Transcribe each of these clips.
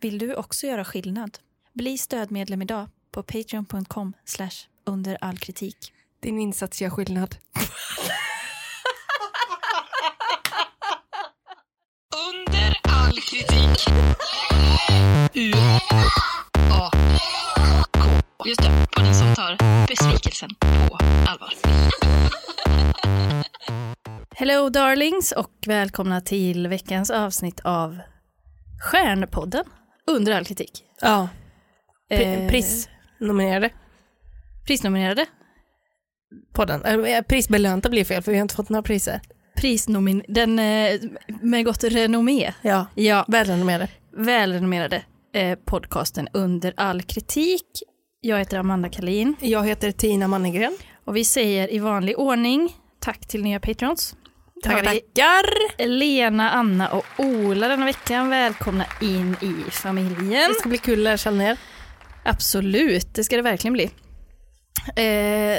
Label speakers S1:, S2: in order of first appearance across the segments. S1: Vill du också göra skillnad? Bli stödmedlem idag på patreon.com under all kritik.
S2: Din insats gör skillnad.
S3: Under all kritik. U A K. Just det, på den som tar besvikelsen på allvar.
S1: Hello darlings och välkomna till veckans avsnitt av Stjärnpodden under all kritik.
S2: Ja.
S1: Eh,
S2: prisnominerade.
S1: Prisnominerade.
S2: Podden. Eh, prisbelönta blir fel för vi har inte fått några priser.
S1: Prisnomin... Den eh, med gott renommé.
S2: Ja.
S1: Ja,
S2: Välrenommerade.
S1: välrenommerade eh, podcasten Under all kritik. Jag heter Amanda Kalin
S2: Jag heter Tina Mannegren.
S1: och vi säger i vanlig ordning tack till nya patrons.
S2: Tackar,
S1: Har vi
S2: tackar.
S1: Lena, Anna och Ola denna veckan. Välkomna in i familjen.
S2: Det ska bli kul att lära känna er.
S1: Absolut, det ska det verkligen bli. Eh,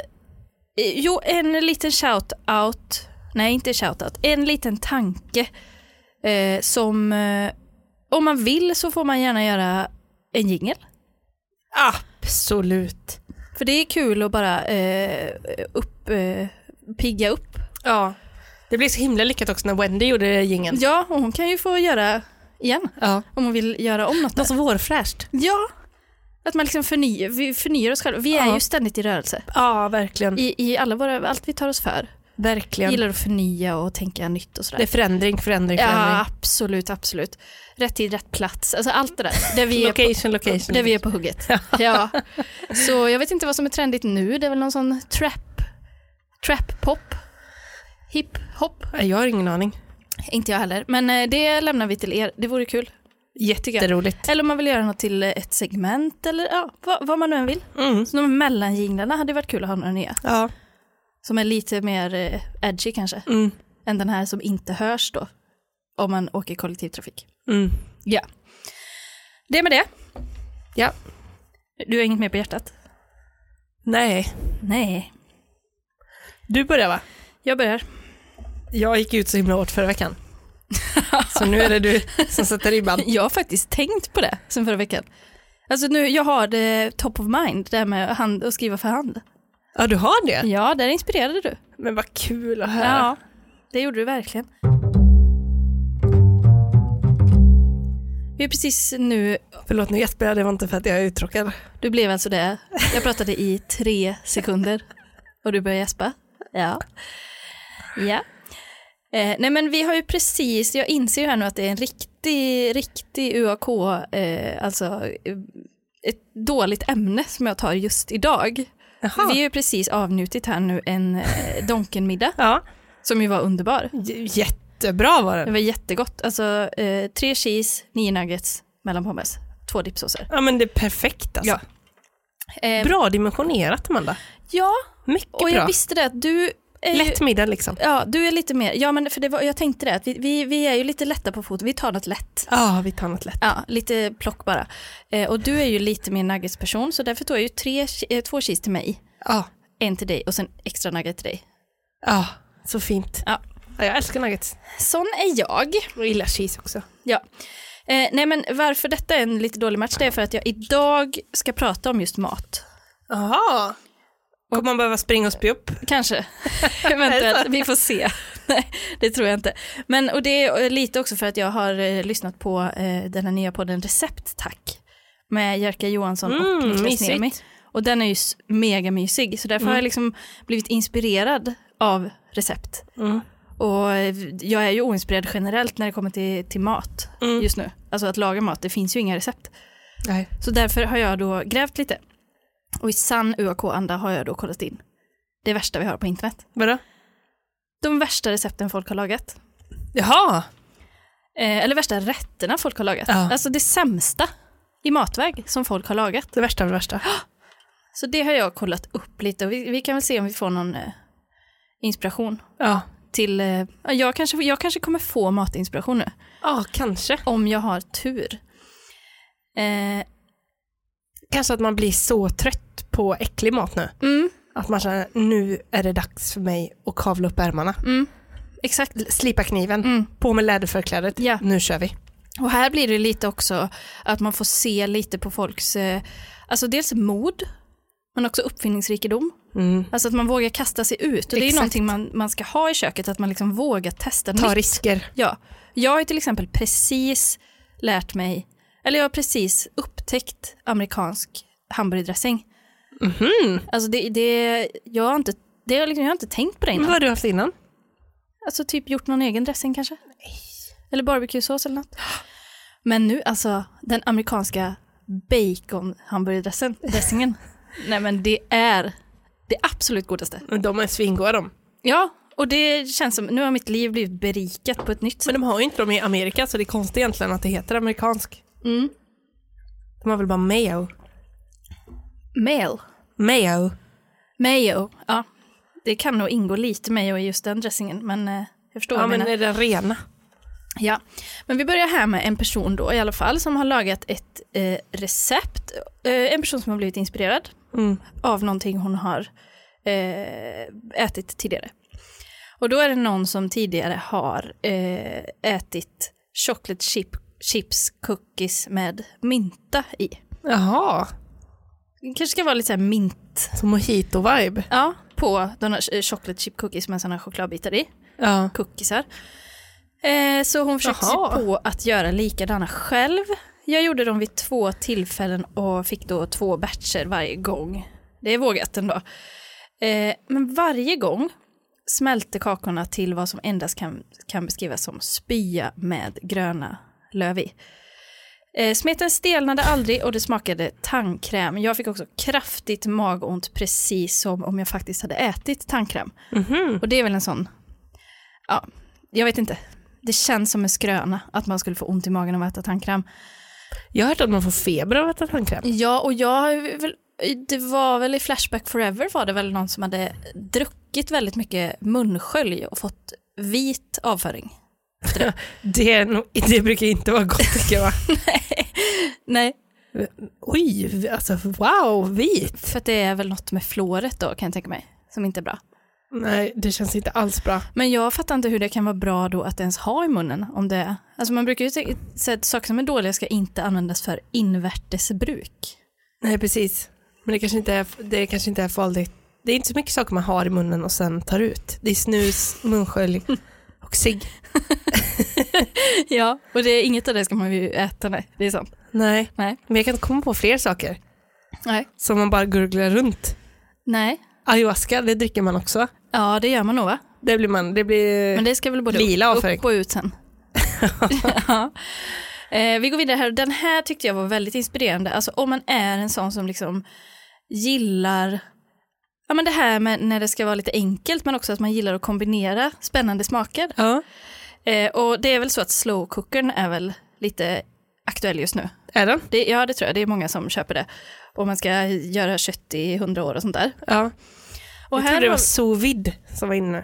S1: jo, en liten shout-out, nej inte shout-out, en liten tanke eh, som eh, om man vill så får man gärna göra en jingel.
S2: Ah. Absolut.
S1: För det är kul att bara eh, upp, eh, pigga upp.
S2: Ja. Det blev så himla lyckat också när Wendy gjorde jingeln.
S1: Ja, och hon kan ju få göra igen
S2: Ja.
S1: om hon vill göra om något. där.
S2: Något vårfräscht.
S1: Ja, att man liksom förnyar, vi förnyar oss själva. Vi är
S2: Ja.
S1: ju ständigt i rörelse.
S2: Ja, verkligen.
S1: I, i alla våra, allt vi tar oss för.
S2: Verkligen.
S1: gillar att förnya och tänka nytt och sådär.
S2: Det är förändring, förändring, förändring.
S1: ja, absolut, absolut. Rätt tid, rätt plats. Alltså allt det där. Där vi är på,
S2: Location, location.
S1: där vi är på hugget. Ja. Så jag vet inte vad som är trendigt nu. Det är väl någon sån trap, trap-pop, hip-hop.
S2: Ja, Jag har ingen aning.
S1: Inte jag heller, men eh, det lämnar vi till er. Det vore kul.
S2: Jätteroligt.
S1: Eller om man vill göra något till eh, ett segment eller ja, vad, vad man nu än vill.
S2: Mm.
S1: Så de mellanjinglarna hade varit kul att ha några nya.
S2: Ja.
S1: Som är lite mer eh, edgy kanske.
S2: Mm.
S1: Än den här som inte hörs då. Om man åker kollektivtrafik.
S2: Mm.
S1: Ja. Det med det.
S2: Ja.
S1: Du har inget mer på hjärtat?
S2: Nej.
S1: Nej.
S2: Du börjar va?
S1: Jag börjar.
S2: Jag gick ut så himla hårt förra veckan. så nu är det du som sätter ribban.
S1: Jag har faktiskt tänkt på det sen förra veckan. Alltså nu, jag har det top of mind, det här med hand, att skriva för hand.
S2: Ja, du har det?
S1: Ja, där inspirerade du.
S2: Men vad kul att höra.
S1: Ja, det gjorde du verkligen. Vi är precis nu,
S2: Förlåt, nu gäspar jag. Det var inte för att jag är uttråkad.
S1: du blev alltså det. Jag pratade i tre sekunder och du började gäspa. Ja. Ja. Eh, nej men vi har ju precis, jag inser ju här nu att det är en riktig, riktig UAK, eh, alltså eh, ett dåligt ämne som jag tar just idag.
S2: Jaha.
S1: Vi har ju precis avnjutit här nu en eh, Donken-middag
S2: Ja.
S1: som ju var underbar.
S2: J- Jättebra var
S1: Det
S2: den.
S1: var jättegott. Alltså eh, tre cheese, nio nuggets, mellanpommes, två dippsåser.
S2: Ja, men det är perfekt alltså.
S1: Eh,
S2: Bra dimensionerat, Amanda.
S1: Ja,
S2: Mycket
S1: och jag
S2: bra.
S1: visste det att du eh, är ju,
S2: Lätt middag liksom.
S1: Ja, du är lite mer, ja men för det var, jag tänkte det att vi, vi, vi är ju lite lätta på foten, vi tar något lätt.
S2: Ja, vi tar något lätt.
S1: Ja, lite plock bara. Eh, och du är ju lite mer nuggetsperson så därför tog jag ju tre, che- eh, två cheese till mig,
S2: Ja.
S1: en till dig och sen extra nugget till dig.
S2: Ja, så fint.
S1: Ja.
S2: Ja, jag älskar nuggets.
S1: Sån är jag.
S2: Och gillar cheese också.
S1: Ja. Eh, nej men varför detta är en lite dålig match det är för att jag idag ska prata om just mat.
S2: Jaha. Kommer man behöva springa och spy upp?
S1: Kanske. Eventuellt. Vi får se. Nej, det tror jag inte. Men, och det är eh, lite också för att jag har eh, lyssnat på eh, den här nya podden Recept Tack med Jerka Johansson och
S2: Mm,
S1: Niklas
S2: mysigt. Mm.
S1: Niemi. Och den är ju s- mega mysig, så därför har jag liksom blivit inspirerad av recept.
S2: Mm.
S1: Och eh, jag är ju oinspirerad generellt när det kommer till, till mat
S2: Mm.
S1: just nu. Alltså att laga mat, det finns ju inga recept.
S2: Nej.
S1: Så därför har jag då grävt lite. Och i sann UAK-anda har jag då kollat in det värsta vi har på internet
S2: Vadå?
S1: de värsta recepten folk har lagat.
S2: Jaha.
S1: Eh, eller värsta rätterna folk har lagat.
S2: Ja.
S1: Alltså det sämsta i matväg som folk har lagat.
S2: Det värsta av det värsta.
S1: Så det har jag kollat upp lite och vi, vi kan väl se om vi får någon eh, inspiration.
S2: Ja.
S1: Till, eh, ja, jag, kanske, jag kanske kommer få matinspiration nu,
S2: Ja, kanske.
S1: om jag har tur. Eh,
S2: Kanske att man blir så trött på äcklig mat nu.
S1: mm,
S2: Att man känner, nu är det dags för mig att kavla upp ärmarna.
S1: mm, exakt.
S2: Slipa kniven,
S1: Mm.
S2: på med läderförklädet,
S1: Ja.
S2: nu kör vi.
S1: Och här blir det lite också att man får se lite på folks, eh, alltså dels mod, men också uppfinningsrikedom.
S2: Mm.
S1: Alltså att man vågar kasta sig ut. Och det är
S2: Exakt.
S1: ju någonting man, man ska ha i köket, att man liksom vågar testa
S2: Ta
S1: nytt.
S2: risker.
S1: Ja. Jag har ju till exempel precis lärt mig, eller jag har precis upptäckt amerikansk hamburgardressing.
S2: Mhm.
S1: Alltså det, det, jag, har inte, det har liksom, jag har inte tänkt på det
S2: Vad
S1: innan.
S2: har du haft innan?
S1: Alltså typ gjort någon egen dressing kanske? Eller barbecuesås eller något. Men nu alltså, den amerikanska bacon dressingen Nej men det är det absolut godaste.
S2: De är svingoda de.
S1: Ja, och det känns som, nu har mitt liv blivit berikat på ett nytt sätt.
S2: Men de har ju inte dem i Amerika så det är konstigt egentligen att det heter amerikansk.
S1: Mm.
S2: De har väl bara mayo.
S1: Mail.
S2: Mayo.
S1: Mayo, ja. Det kan nog ingå lite mayo i just den dressingen, men eh, jag förstår
S2: Ja
S1: vad du
S2: men
S1: menar.
S2: är den rena?
S1: Ja. Men vi börjar här med en person då i alla fall som har lagat ett eh, recept. Eh, en person som har blivit inspirerad
S2: Mm.
S1: av någonting hon har eh, ätit tidigare. Och då är det någon som tidigare har eh, ätit chocolate chip, chips cookies med mynta i.
S2: Jaha,
S1: Det kanske ska vara lite så här mint.
S2: som mojito-vibe.
S1: Ja, på de här eh, chocolate chip cookies med sådana chokladbitar i.
S2: Ja.
S1: cookiesar. Eh, så hon försökte sig
S2: Jaha.
S1: på att göra likadana själv. Jag gjorde dem vid två tillfällen och fick då två batcher varje gång. Det är vågat ändå. Eh, men varje gång smälte kakorna till vad som endast kan, kan beskrivas som spya med gröna löv i. Eh, smeten stelnade aldrig och det smakade tandkräm. Jag fick också kraftigt magont precis som om jag faktiskt hade ätit tandkräm. Och det är väl en sån ja, jag vet inte. Det känns som en skröna att man skulle få ont i magen av att äta tandkräm.
S2: Jag har hört att man får feber av att äta tandkräm.
S1: Ja, och jag har ju väl, det var väl i Flashback Forever var det väl någon som hade druckit väldigt mycket munskölj och fått vit avföring.
S2: Det, är nog, det brukar inte vara gott tycker jag.
S1: Nej,
S2: Oj, alltså wow, vit.
S1: för att det är väl något med fluoret då kan jag tänka mig, som inte är bra.
S2: Nej, det känns inte alls bra.
S1: Men jag fattar inte hur det kan vara bra då att ens ha i munnen om det, alltså man brukar ju sä- säga att saker som är dåliga ska inte användas för invärtes bruk.
S2: Nej, precis. Men det kanske inte är, det kanske inte är farligt. Det är inte så mycket saker man har i munnen och sen tar ut. Det är snus, munskölj och cigg.
S1: Ja, och det är inget av det ska man ju äta, nej, det är sant.
S2: Nej,
S1: Nej.
S2: men jag kan inte komma på fler saker
S1: Nej.
S2: som man bara gurglar runt.
S1: Nej.
S2: Ayahuasca, det dricker man också.
S1: Ja, det gör man nog va?
S2: Det blir man, det blir...
S1: Men det ska väl både
S2: Lila
S1: upp,
S2: avföring.
S1: upp och ut sen. ja. eh, vi går vidare här. Den här tyckte jag var väldigt inspirerande. Alltså om man är en sån som liksom gillar Ja men det här med när det ska vara lite enkelt men också att man gillar att kombinera spännande smaker.
S2: Ja,
S1: Eh, och det är väl så att slowcookern är väl lite aktuell just nu.
S2: är den?
S1: Det, ja det tror jag, det är många som köper det. Och man ska göra kött i hundra år och sånt där.
S2: Ja.
S1: Och
S2: jag trodde det
S1: har-
S2: var sous vide som var inne.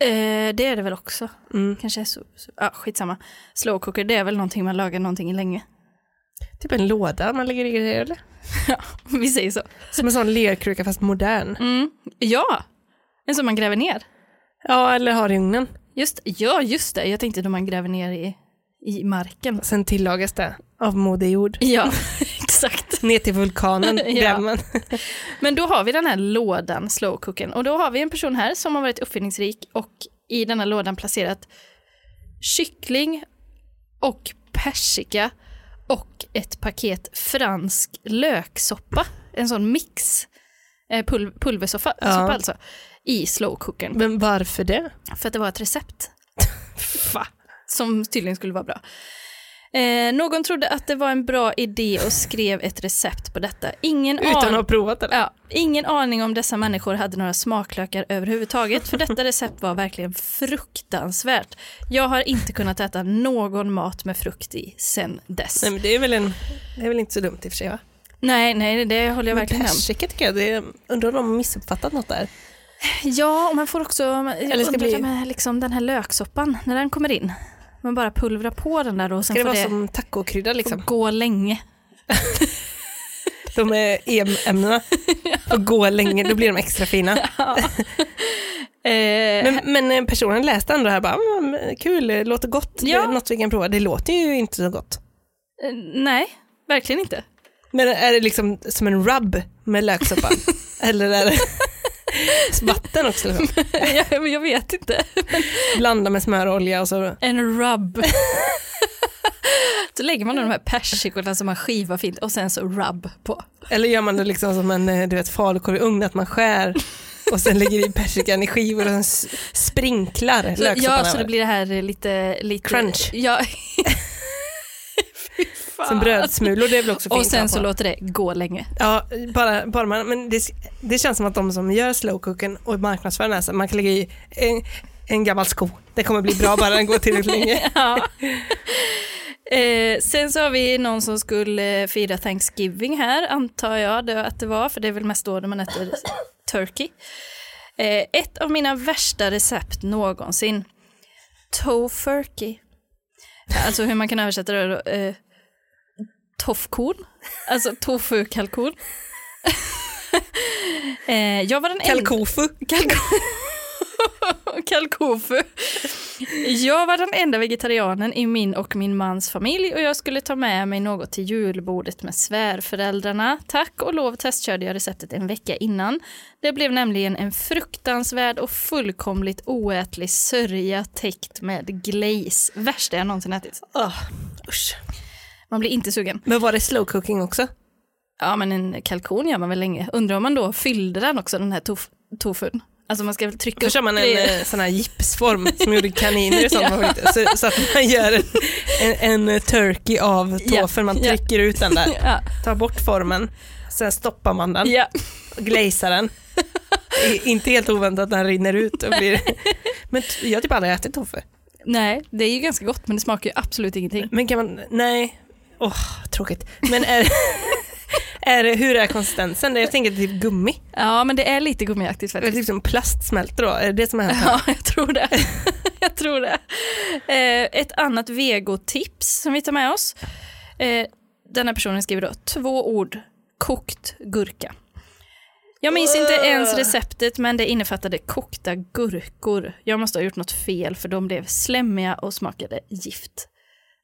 S1: Eh, det är det väl också.
S2: Mm.
S1: Kanske är så, så ja, skitsamma. Slow cooker, det är väl någonting man lagar någonting länge.
S2: Typ en låda man lägger i grejer eller?
S1: Vi säger så.
S2: Som en sån lerkruka fast modern.
S1: Mm. Ja, en som man gräver ner.
S2: Ja, eller har i ugnen.
S1: Just, ja, just det. Jag tänkte då man gräver ner i, i marken.
S2: Sen tillagas det av Moder Jord.
S1: Ja, exakt.
S2: Ner till vulkanen
S1: Ja.
S2: gräver man.
S1: Men då har vi den här lådan, slowcookern. Och då har vi en person här som har varit uppfinningsrik och i den här lådan placerat kyckling och persika och ett paket fransk löksoppa. En sån mix, eh, pul pulversoppa
S2: Ja.
S1: soppa alltså, i slowcookern.
S2: Men varför det?
S1: För att det var ett recept
S2: Va?
S1: som tydligen skulle vara bra. Eh, någon trodde att det var en bra idé och skrev ett recept på detta. Ingen
S2: Utan att
S1: an-
S2: ha provat det?
S1: Ja, ingen aning om dessa människor hade några smaklökar överhuvudtaget, för detta recept var verkligen fruktansvärt. Jag har inte kunnat äta någon mat med frukt i sen dess.
S2: Nej men det är, väl en, det är väl inte så dumt i och för sig va?
S1: Nej, nej, det håller jag
S2: Men
S1: verkligen med om.
S2: persika tycker jag, det är, undrar om de har missuppfattat något där.
S1: Ja, och man får också, jag
S2: Eller ska
S1: undrar
S2: bli-
S1: det med liksom den här löksoppan, när den kommer in. Man bara pulvrar på den där och sen
S2: Ska det
S1: får
S2: vara
S1: det
S2: som tacokrydda liksom?
S1: gå länge.
S2: De är EM-ämnena. Och gå länge, då blir de extra fina.
S1: Eh,
S2: Men, men eh, personen läste ändå det här bara, "Mm, men kul, det låter gott,
S1: Ja.
S2: det är något vi kan prova. Det låter ju inte så gott.
S1: eh, nej, verkligen inte.
S2: Men är det liksom som en rub med löksoppa? Eller är det vatten också? Liksom?
S1: jag, jag vet inte.
S2: Blanda med smör och olja och så.
S1: En rub. så lägger man de här persikorna som man skivar fint och sen så rub på.
S2: Eller gör man det liksom som en eh, du vet, falukorv i ugn, att man skär och sen lägger i persikan i skivor och sen s- sprinklar
S1: Så,
S2: löksoppan
S1: ja, så
S2: över.
S1: det blir det här eh, lite... lite
S2: Crunch.
S1: Ja. Fy fan.
S2: Som brödsmulor, det är väl också fint
S1: Och sen
S2: att ha
S1: så
S2: på.
S1: låter det gå länge.
S2: Ja, bara, bara man, men det, det känns som att de som gör slowcooken och marknadsför den här, så man kan lägga i en, en gammal sko. Det kommer bli bra bara den går tillräckligt länge.
S1: Ja. Eh, sen så har vi någon som skulle eh, fira Thanksgiving här, antar jag det, att det var, för det är väl mest då när man äter turkey. Eh, ett av mina värsta recept någonsin. Tofurkey. Alltså hur man kan översätta det då. Eh, toffkorn. Alltså tofu-kalkon. eh, jag var den enda-
S2: Kalkofu.
S1: Kalko- Kalkofu. Jag var den enda vegetarianen i min och min mans familj och jag skulle ta med mig något till julbordet med svärföräldrarna. Tack och lov testkörde jag receptet en vecka innan. Det blev nämligen en fruktansvärd och fullkomligt oätlig sörja täckt med glaze. Värsta jag någonsin ätit.
S2: Oh, usch.
S1: Man blir inte sugen.
S2: Men var det slowcooking också?
S1: Ja, men en kalkon gör man väl länge. Undrar om man då fyllde den också, den här tof- tofun. Alltså man ska väl trycka
S2: Då
S1: upp
S2: kör man en
S1: det-
S2: eh, sån här gipsform som gjorde kaniner och sånt. man fick- så, så att man gör en, en, en turkey av
S1: Ja,
S2: tofen, man
S1: ja.
S2: trycker ut den där,
S1: Ja,
S2: tar bort formen, sen stoppar man den,
S1: ja.
S2: och glazar den. I- Inte helt oväntat att den rinner ut och blir... Men t- jag har typ aldrig ätit tofu.
S1: Nej, det är ju ganska gott men det smakar ju absolut ingenting.
S2: Men kan man, nej, åh tråkigt. Men är, är det, hur är konsistensen? Jag tänker typ gummi.
S1: Ja, men det är lite gummiaktigt
S2: Eller
S1: faktiskt.
S2: typ som plast smälter då, är det det som har hänt?
S1: Ja, jag tror det. jag tror det. Eh, ett annat vegotips som vi tar med oss. Eh, den här personen skriver då två ord. Kokt gurka. Jag minns inte ens receptet men det innefattade kokta gurkor. Jag måste ha gjort något fel för de blev slemmiga och smakade gift.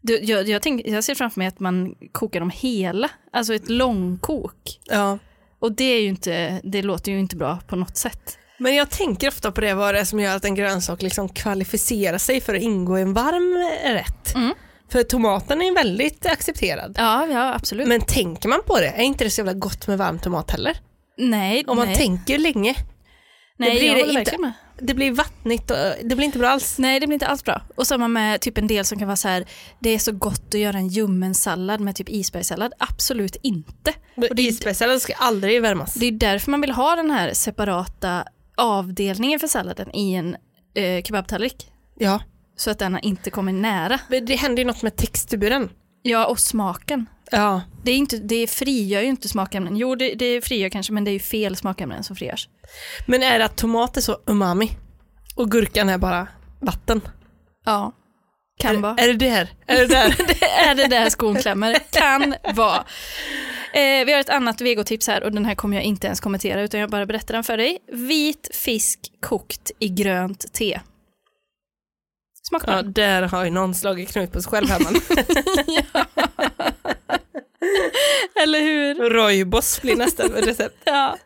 S1: Du, jag, jag, tänk, jag ser framför mig att man kokar dem hela, alltså ett långkok.
S2: Ja.
S1: Och det, är ju inte, det låter ju inte bra på något sätt.
S2: Men jag tänker ofta på det, vad det är som gör att en grönsak liksom kvalificerar sig för att ingå i en varm rätt. För tomaten är väldigt accepterad.
S1: Ja, ja absolut.
S2: Men tänker man på det, är inte det så jävla gott med varm tomat heller?
S1: nej,
S2: Om man
S1: nej,
S2: tänker länge,
S1: nej,
S2: det blir
S1: jag
S2: det
S1: håller
S2: inte.
S1: verkligen med.
S2: det blir vattnigt och eh, det blir inte bra alls.
S1: Nej, det blir inte alls bra. Och samma med typ en del som kan vara så här, det är så gott att göra en ljummen sallad med typ isbergssallad. Absolut inte.
S2: Och Isbergssalladen ska aldrig värmas.
S1: Det är därför man vill ha den här separata avdelningen för salladen i en eh, kebabtallrik.
S2: Ja.
S1: Så att den inte kommer nära.
S2: Men det händer ju något med texturen.
S1: Ja, och smaken.
S2: Ja.
S1: Det, är inte, det frigör ju inte smakämnen. Jo, det, det frigör kanske, men det är ju fel smakämnen som frigörs.
S2: Men är det att tomat är så umami och gurkan är bara vatten?
S1: Ja, kan vara.
S2: Är det där? Är det där?
S1: Det är det där skon klämmer. Kan vara. Eh, vi har ett annat vegotips här och den här kommer jag inte ens kommentera utan jag bara berättar den för dig. Vit fisk kokt i grönt te. Smakar
S2: ja,
S1: den?
S2: där har ju någon slagit knut på sig själv Herman.
S1: Eller hur?
S2: Roibos blir nästa recept.
S1: Ja.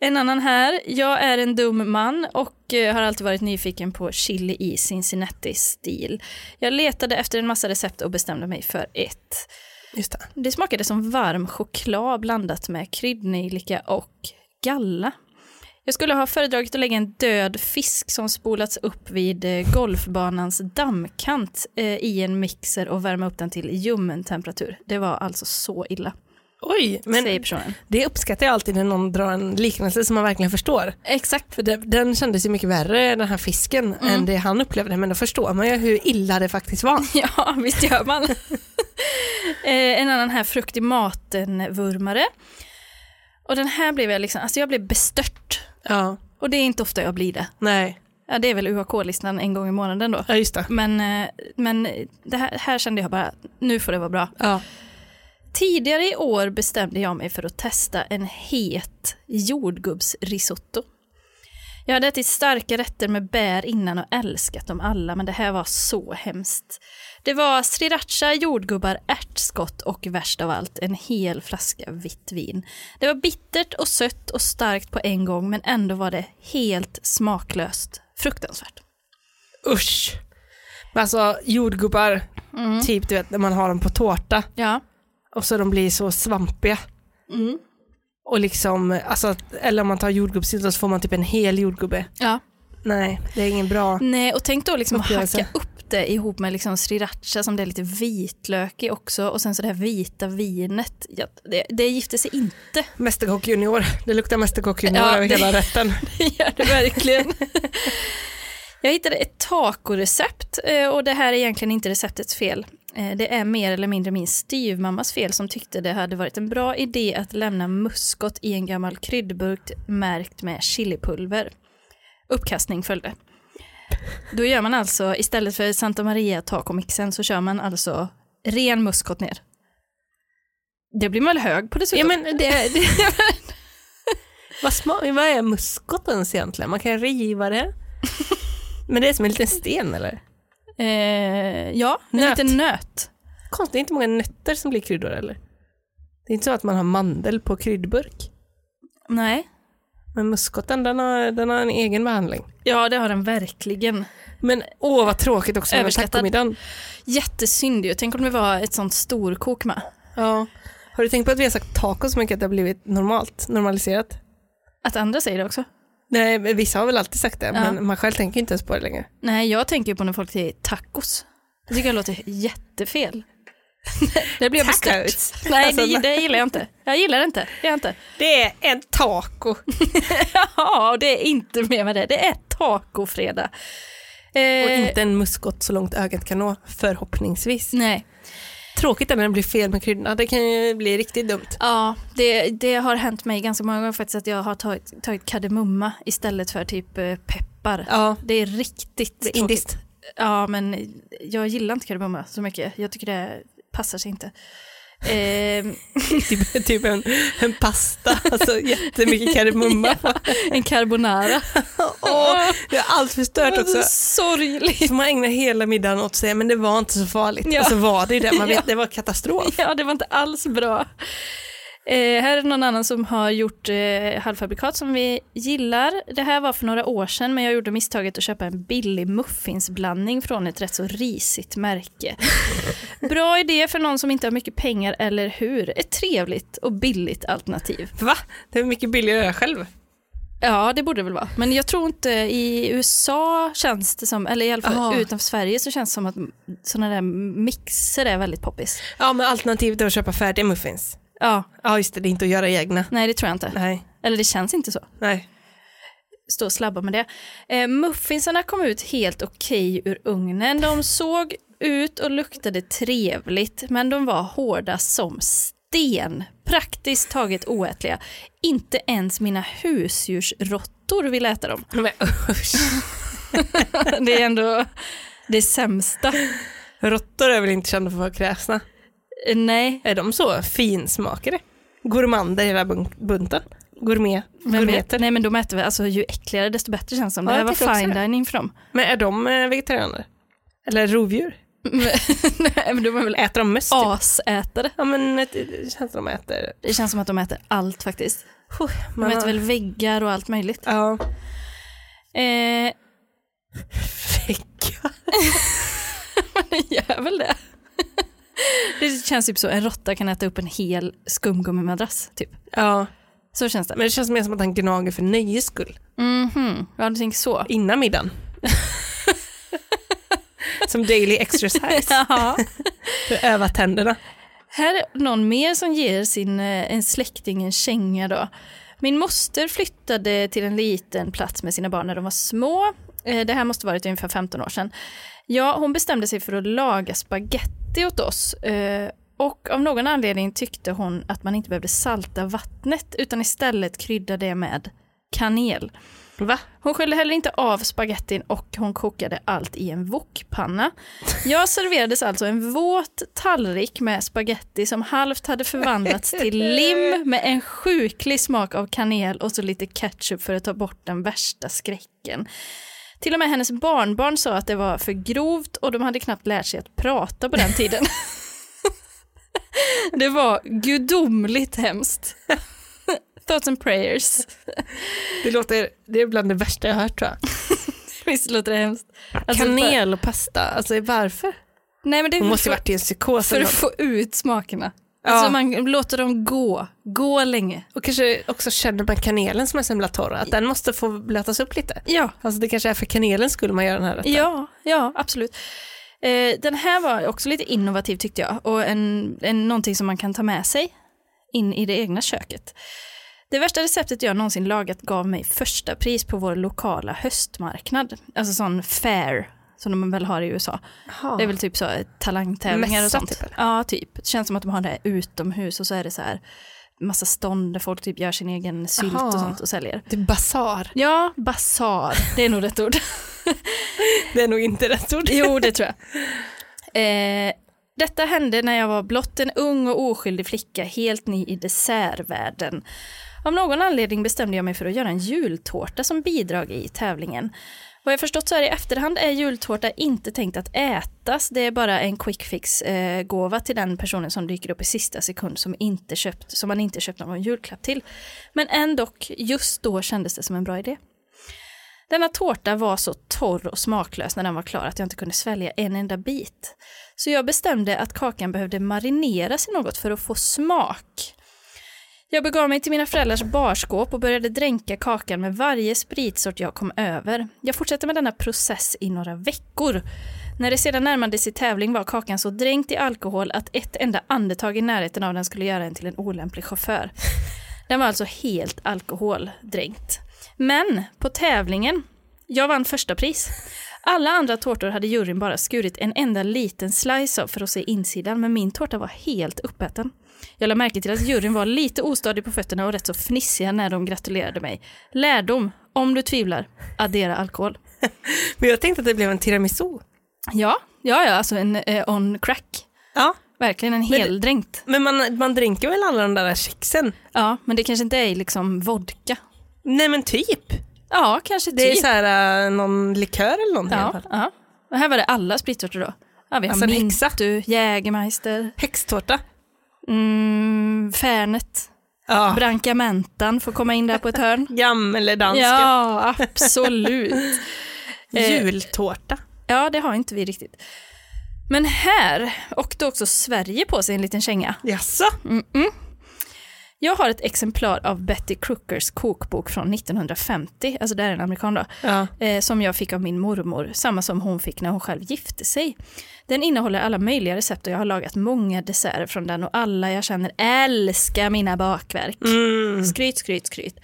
S1: En annan här. Jag är en dum man och eh, har alltid varit nyfiken på chili i Cincinnati-stil. Jag letade efter en massa recept och bestämde mig för ett.
S2: Just det.
S1: Det smakade som varm choklad blandat med kryddnejlika och galla. Jag skulle ha föredragit att lägga en död fisk som spolats upp vid eh, golfbanans dammkant eh, i en mixer och värma upp den till ljummen temperatur. Det var alltså så illa,
S2: Oj, men
S1: säger personen.
S2: det uppskattar jag alltid när någon drar en liknelse som man verkligen förstår.
S1: Exakt.
S2: För det, den kändes ju mycket värre, den här fisken, än det han upplevde. Men då förstår man ju hur illa det faktiskt var.
S1: Ja, visst gör man. eh, en annan här, frukt i maten-vurmare. Och den här blev jag liksom, alltså jag blev bestört.
S2: Ja,
S1: Och det är inte ofta jag blir det.
S2: nej.
S1: Ja, det är väl UAK-listan en gång i månaden då.
S2: Ja, just det.
S1: Men, eh, men det här, här kände jag bara, nu får det vara bra.
S2: Ja.
S1: Tidigare i år bestämde jag mig för att testa en het jordgubbsrisotto. Jag hade ätit starka rätter med bär innan och älskat dem alla, men det här var så hemskt. Det var sriracha, jordgubbar, ärtskott och värst av allt, en hel flaska vitt vin. Det var bittert och sött och starkt på en gång, men ändå var det helt smaklöst. Fruktansvärt.
S2: Usch! Men alltså jordgubbar, typ du vet när man har dem på tårta
S1: Ja.
S2: och så de blir så svampiga. Mm. Och liksom, alltså, eller om man tar jordgubbssylta så får man typ en hel jordgubbe.
S1: ja.
S2: Nej, det är ingen bra.
S1: Nej, och tänk då liksom att
S2: Uppgörelse.
S1: hacka upp det ihop med liksom sriracha som det är lite vitlök i också och sen så det här vita vinet. Ja, det, det gifte sig inte.
S2: Mästerkock junior, det luktar mästerkock junior
S1: Ja,
S2: över
S1: det-
S2: hela rätten.
S1: Det gör det verkligen. Jag hittade ett tacorecept eh, och det här är egentligen inte receptets fel. Eh, Det är mer eller mindre min styvmammas fel som tyckte det hade varit en bra idé att lämna muskot i en gammal kryddburk märkt med chilipulver. Uppkastning följde. Då gör man alltså, istället för Santa Maria tacomixen så kör man alltså ren muskot ner. Det blir man väl hög på dessutom?
S2: Ja, men det, det, vad, sma, vad är muskot ens egentligen? Man kan riva det. Men det är som en liten sten eller?
S1: eh, ja en
S2: Nöt.
S1: liten nöt.
S2: Konstigt, det är inte många nötter som blir kryddor eller? Det är inte så att man har mandel på kryddburk.
S1: Nej.
S2: Men muskoten, den har, den har en egen behandling.
S1: Ja, det har den verkligen.
S2: Men åh vad tråkigt också med
S1: Överskattad.
S2: tacomiddagen.
S1: Jättesynd ju. Tänk om det var ett sånt storkok med.
S2: Ja. Har du tänkt på att vi har sagt taco så mycket att det har blivit normalt, normaliserat?
S1: Att andra säger det också.
S2: Nej, men vissa har väl alltid sagt det,
S1: Ja.
S2: men man själv tänker inte ens på det längre.
S1: Nej, jag tänker ju på när folk säger tacos. Det tycker jag låter jättefel. det blir jag bestört.
S2: Tacos.
S1: Nej,
S2: Alltså,
S1: det, det gillar jag inte. Jag gillar det inte. Det är jag inte.
S2: Det är en taco.
S1: Ja, och det är inte mer med det. Det är tacofredag. Eh,
S2: Och inte en muskot så långt ögat kan nå, förhoppningsvis.
S1: Nej.
S2: Tråkigt är när det blir fel med kryddorna, det kan ju bli riktigt dumt.
S1: Ja, det, det har hänt mig ganska många gånger faktiskt att jag har tagit, tagit kardemumma istället för typ eh, peppar.
S2: Ja,
S1: Det är riktigt
S2: det är
S1: tråkigt.
S2: indiskt.
S1: Ja, men jag gillar inte kardemumma så mycket. Jag tycker det passar sig inte. Ehm,
S2: typ, typ en, en pasta, alltså jättemycket kardemumma.
S1: en carbonara.
S2: Åh, jag har allt förstört
S1: Det
S2: också.
S1: är sorgligt.
S2: Så man ägnar hela middagen åt att säga men det var inte så farligt.
S1: Ja.
S2: Och så var det ju det, man vet
S1: Ja.
S2: det var katastrof.
S1: Ja, det var inte alls bra. Eh, här är någon annan som har gjort eh, halvfabrikat som vi gillar. Det här var för några år sedan, men jag gjorde misstaget att köpa en billig muffinsblandning från ett rätt så risigt märke. Bra idé för någon som inte har mycket pengar, eller hur? Ett trevligt och billigt alternativ.
S2: Va? Det är mycket billigare jag själv.
S1: Ja, det borde det väl vara. Men jag tror inte i USA känns det som, eller i alla fall
S2: Aha.
S1: utanför Sverige så känns det som att sådana där mixer är väldigt poppis.
S2: Ja men alternativet är att köpa färdiga muffins.
S1: Ja,
S2: Ja just det, det är inte att göra egna.
S1: nej det tror jag inte.
S2: Nej,
S1: Eller det känns inte så.
S2: nej.
S1: Stå och slabba med det. Eh, muffinsarna kom ut helt okej ur ugnen. De såg ut och luktade trevligt, men de var hårda som sten. Praktiskt taget oätliga. Inte ens mina husdjursråttor ville äta dem.
S2: Men usch.
S1: Det är ändå det sämsta.
S2: Råttor är väl inte kända för att vara kräsna?
S1: Eh, Nej,
S2: Är de så finsmakare? Gourmander hela bun- bunten? Gourmet?
S1: vem vet?
S2: Gourmeter?
S1: Nej men de äter väl, alltså ju äckligare desto bättre känns det som.
S2: Ja,
S1: det här
S2: jag
S1: var
S2: tänker också
S1: fine
S2: det.
S1: dining för dem.
S2: Men är de eh, vegetarianer? Eller rovdjur?
S1: Nej men de är väl
S2: Äter de möss? Typ?
S1: asätare.
S2: Ja men eh, det känns som de äter.
S1: Det känns som att de äter allt faktiskt. De
S2: Man
S1: äter
S2: har-
S1: väl väggar och allt möjligt.
S2: Ja.
S1: Eh,
S2: Fäcka.
S1: det gör väl det. Det känns typ så, en råtta kan äta upp en hel skumgummimadrass. Typ.
S2: Ja,
S1: Så känns det.
S2: men det känns mer som att han gnager för nöjes skull.
S1: Mhm, ja du tänker så.
S2: Innan middagen. som daily exercise.
S1: Jaha.
S2: För att öva tänderna.
S1: Här är någon mer som ger sin eh, en släkting en känga då. Min moster flyttade till en liten plats med sina barn när de var små. Eh, Det här måste varit ungefär 15 år sedan. Ja, hon bestämde sig för att laga spaghetti åt oss. eh, Och av någon anledning tyckte hon att man inte behövde salta vattnet utan istället krydda det med kanel.
S2: Va?
S1: Hon sköljde heller inte av spagettin och hon kokade allt i en wokpanna. Jag serverades alltså en våt tallrik med spagetti som halvt hade förvandlats till lim med en sjuklig smak av kanel och så lite ketchup för att ta bort den värsta skräcken. Till och med hennes barnbarn sa att det var för grovt och de hade knappt lärt sig att prata på den tiden. det var gudomligt hemskt. Thoughts and prayers.
S2: Det låter, det är bland det värsta jag har hört tror jag.
S1: Visst låter det hemskt? Alltså, För,
S2: Kanel och pasta, alltså varför?
S1: nej, men det är
S2: Hon måste
S1: för,
S2: ju varit i en psykos.
S1: för
S2: eller
S1: att
S2: något.
S1: få ut smakerna.
S2: Ja.
S1: Alltså man låter dem gå, gå länge.
S2: Och kanske också känner man kanelen som är så himla torr, att den måste få blötas upp lite.
S1: Ja,
S2: Alltså det kanske är för kanelen skulle man göra den här rätten.
S1: ja, ja absolut. Eh, den här var också lite innovativ tyckte jag och en, en, någonting som man kan ta med sig in i det egna köket. Det värsta receptet jag någonsin lagat gav mig första pris på vår lokala höstmarknad. Alltså sån fair som de väl har i USA.
S2: Jaha.
S1: Det är väl typ så eh, talangtävlingar och
S2: Mässa,
S1: sånt.
S2: typ, eller?
S1: ja, typ. Det känns som att de har det här utomhus och så är det så här massa stånd där folk typ gör sin egen sylt
S2: Aha.
S1: och sånt och säljer.
S2: Det är basar.
S1: Ja, basar. Det är nog rätt ord.
S2: Det är nog inte rätt ord.
S1: jo, det tror jag. Eh, detta hände när jag var blott en ung och oskyldig flicka, helt ny i dessertvärlden. Av någon anledning bestämde jag mig för att göra en jultårta som bidrag i tävlingen. Vad jag förstått så här i efterhand är jultårta inte tänkt att ätas, det är bara en quick fix-gåva till den personen som dyker upp i sista sekund som, inte köpt, som man inte köpt någon julklapp till. Men ändå, just då kändes det som en bra idé. Denna tårta var så torr och smaklös när den var klar att jag inte kunde svälja en enda bit. Så jag bestämde att kakan behövde marineras i något för att få smak. Jag begav mig till mina föräldrars barskåp och började dränka kakan med varje spritsort jag kom över. Jag fortsatte med denna process i några veckor. När det sedan närmade sig tävling var kakan så dränkt i alkohol att ett enda andetag i närheten av den skulle göra en till en olämplig chaufför. Den var alltså helt alkoholdränkt. Men på tävlingen, jag vann första pris. Alla andra tårtor hade juryn bara skurit en enda liten slice av för att se insidan, men min tårta var helt uppäten. Jag lade märke till att juryn var lite ostadig på fötterna och rätt så fnissiga när de gratulerade mig. Lärdom, om du tvivlar, addera alkohol.
S2: Men jag tänkte att det blev en tiramisu.
S1: Ja, ja, ja alltså en eh, on crack.
S2: Ja.
S1: Verkligen en
S2: det-
S1: heldränkt.
S2: Men man, man dränker väl alla de där kexen?
S1: Ja, men det kanske inte är i liksom vodka.
S2: Nej men typ.
S1: Ja, kanske
S2: Det är
S1: typ.
S2: så här äh, någon likör eller någonting i
S1: Ja,
S2: alla fall.
S1: ja. Och här var det alla spritsorter då. Ja, vi har
S2: Alltså en häxa.
S1: Mintu, Jägermeister,
S2: Häxtårta.
S1: mm, Färnet,
S2: Ja.
S1: Brankamentan får komma in där på ett hörn.
S2: Gammeldanska.
S1: Ja, absolut. Eh,
S2: Jultårta.
S1: Ja, det har inte vi riktigt. Men här åkte också Sverige på sig en liten känga.
S2: Jaså?
S1: Jag har ett exemplar av Betty Crookers kokbok från 1950, alltså det här är en amerikan då.
S2: Ja.
S1: eh, som jag fick av min mormor, samma som hon fick när hon själv gifte sig. Den innehåller alla möjliga recept och jag har lagat många desserter från den och alla jag känner älskar mina bakverk. Skryt, skryt, skryt.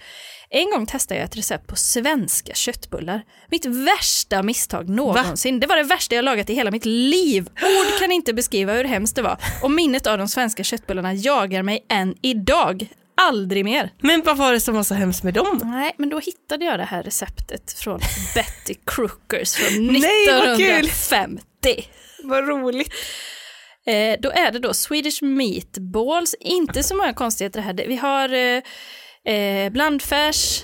S1: En gång testade jag ett recept på svenska köttbullar. Mitt värsta misstag någonsin. Det var det värsta jag lagat i hela mitt liv. Ord kan inte beskriva hur hemskt det var. Och minnet av de svenska köttbullarna jagar mig än idag. Aldrig mer.
S2: Men vad var det som var så hemskt med dem?
S1: Nej, men då hittade jag det här receptet från Betty Crookers från
S2: Nej, vad kul!
S1: 1950.
S2: Vad roligt.
S1: Eh, då är det då Swedish meatballs, inte så många konstigheter här. Det- Vi har eh, eh, blandfärs,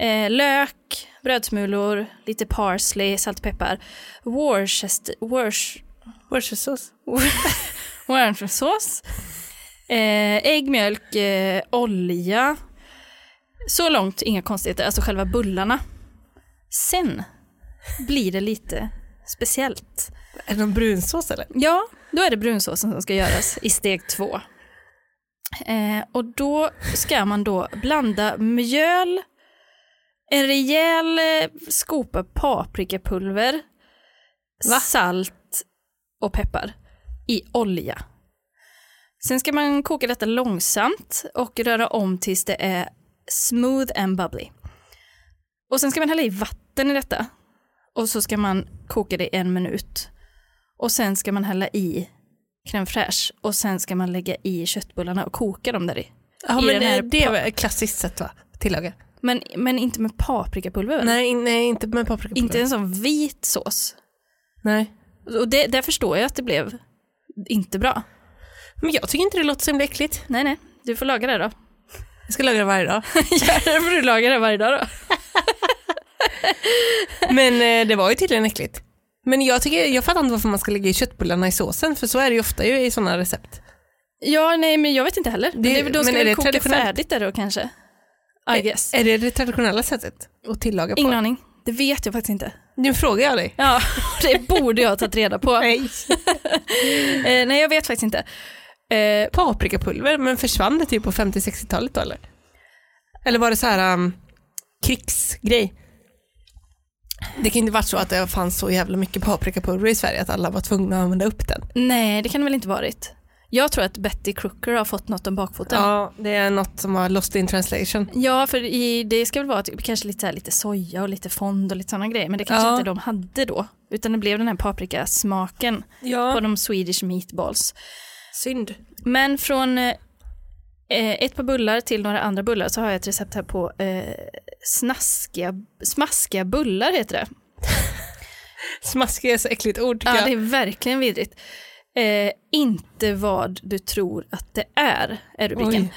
S1: eh, lök, brödsmulor, lite parsley, salt och peppar, Worcester, Worcester,
S2: Worcestersås.
S1: Wormsås, eh, ägg, mjölk, eh, olja. Så långt inga konstigheter, alltså själva bullarna. Sen blir det lite speciellt.
S2: Är det någon brunsås eller?
S1: Ja, då är det brunsåsen som ska göras i steg två. Eh, och då ska man då blanda mjöl, en rejäl eh, skopa paprikapulver,
S2: Va?
S1: salt och peppar i olja. Sen ska man koka detta långsamt och röra om tills det är smooth and bubbly. Och sen ska man hälla i vatten i detta och så ska man koka det i en minut. Och sen ska man hälla i crème fraîche och sen ska man lägga i köttbullarna och koka dem där i.
S2: Ja
S1: I
S2: men
S1: den här
S2: eh, det är väl ett klassiskt sätt va? Tillaga.
S1: Men, men inte med paprikapulver? väl?
S2: Nej, in- nej inte med paprikapulver.
S1: Inte en sån vit sås.
S2: Nej.
S1: Och det, där förstår jag att det blev inte bra.
S2: Men jag tycker inte det låter så himla äckligt.
S1: Nej, nej. Du får laga det då.
S2: Jag ska laga det varje dag.
S1: Ja, det får du laga det varje dag då.
S2: Men eh, det var ju tydligen äckligt. Men jag, tycker, jag fattar inte varför man ska lägga i köttbullarna i såsen, för så är det ju ofta ju i sådana recept.
S1: Ja, nej, men jag vet inte heller. Men
S2: Det-
S1: Det, Eh, då
S2: men
S1: ska
S2: är
S1: vi
S2: det
S1: koka
S2: traditionellt?
S1: färdigt där då kanske. I guess.
S2: Är det det traditionella sättet att tillaga på?
S1: Ingen aning. Det vet jag faktiskt inte.
S2: Nu frågar jag dig.
S1: Ja, det borde jag ha tagit reda på. eh,
S2: Nej.
S1: nej, jag vet faktiskt inte. Eh,
S2: Paprikapulver, men försvann det typ på 50-60-talet då eller? Eller var det så här um, krigsgrej? Det kan inte varit så att det fanns så jävla mycket paprikapulver i Sverige att alla var tvungna att använda upp den.
S1: nej, det kan det väl inte varit. Jag tror att Betty Crooker har fått något om bakfoten. Ja.
S2: Ja, det är något som var lost in translation.
S1: för i, det ska väl vara typ, kanske lite, så här, lite soja och lite fond och lite sådana grejer. Men det kanske
S2: Ja.
S1: inte de hade då. Utan det blev den här paprikasmaken på
S2: Ja,
S1: de Swedish meatballs.
S2: synd.
S1: Men från eh, ett par bullar till några andra bullar så har jag ett recept här på eh, snaskiga, smaskiga bullar heter det.
S2: Smaskiga är så äckligt ord tycker
S1: Ja,
S2: jag.
S1: det är verkligen vidrigt. Eh, inte vad du tror att det är, är rubriken.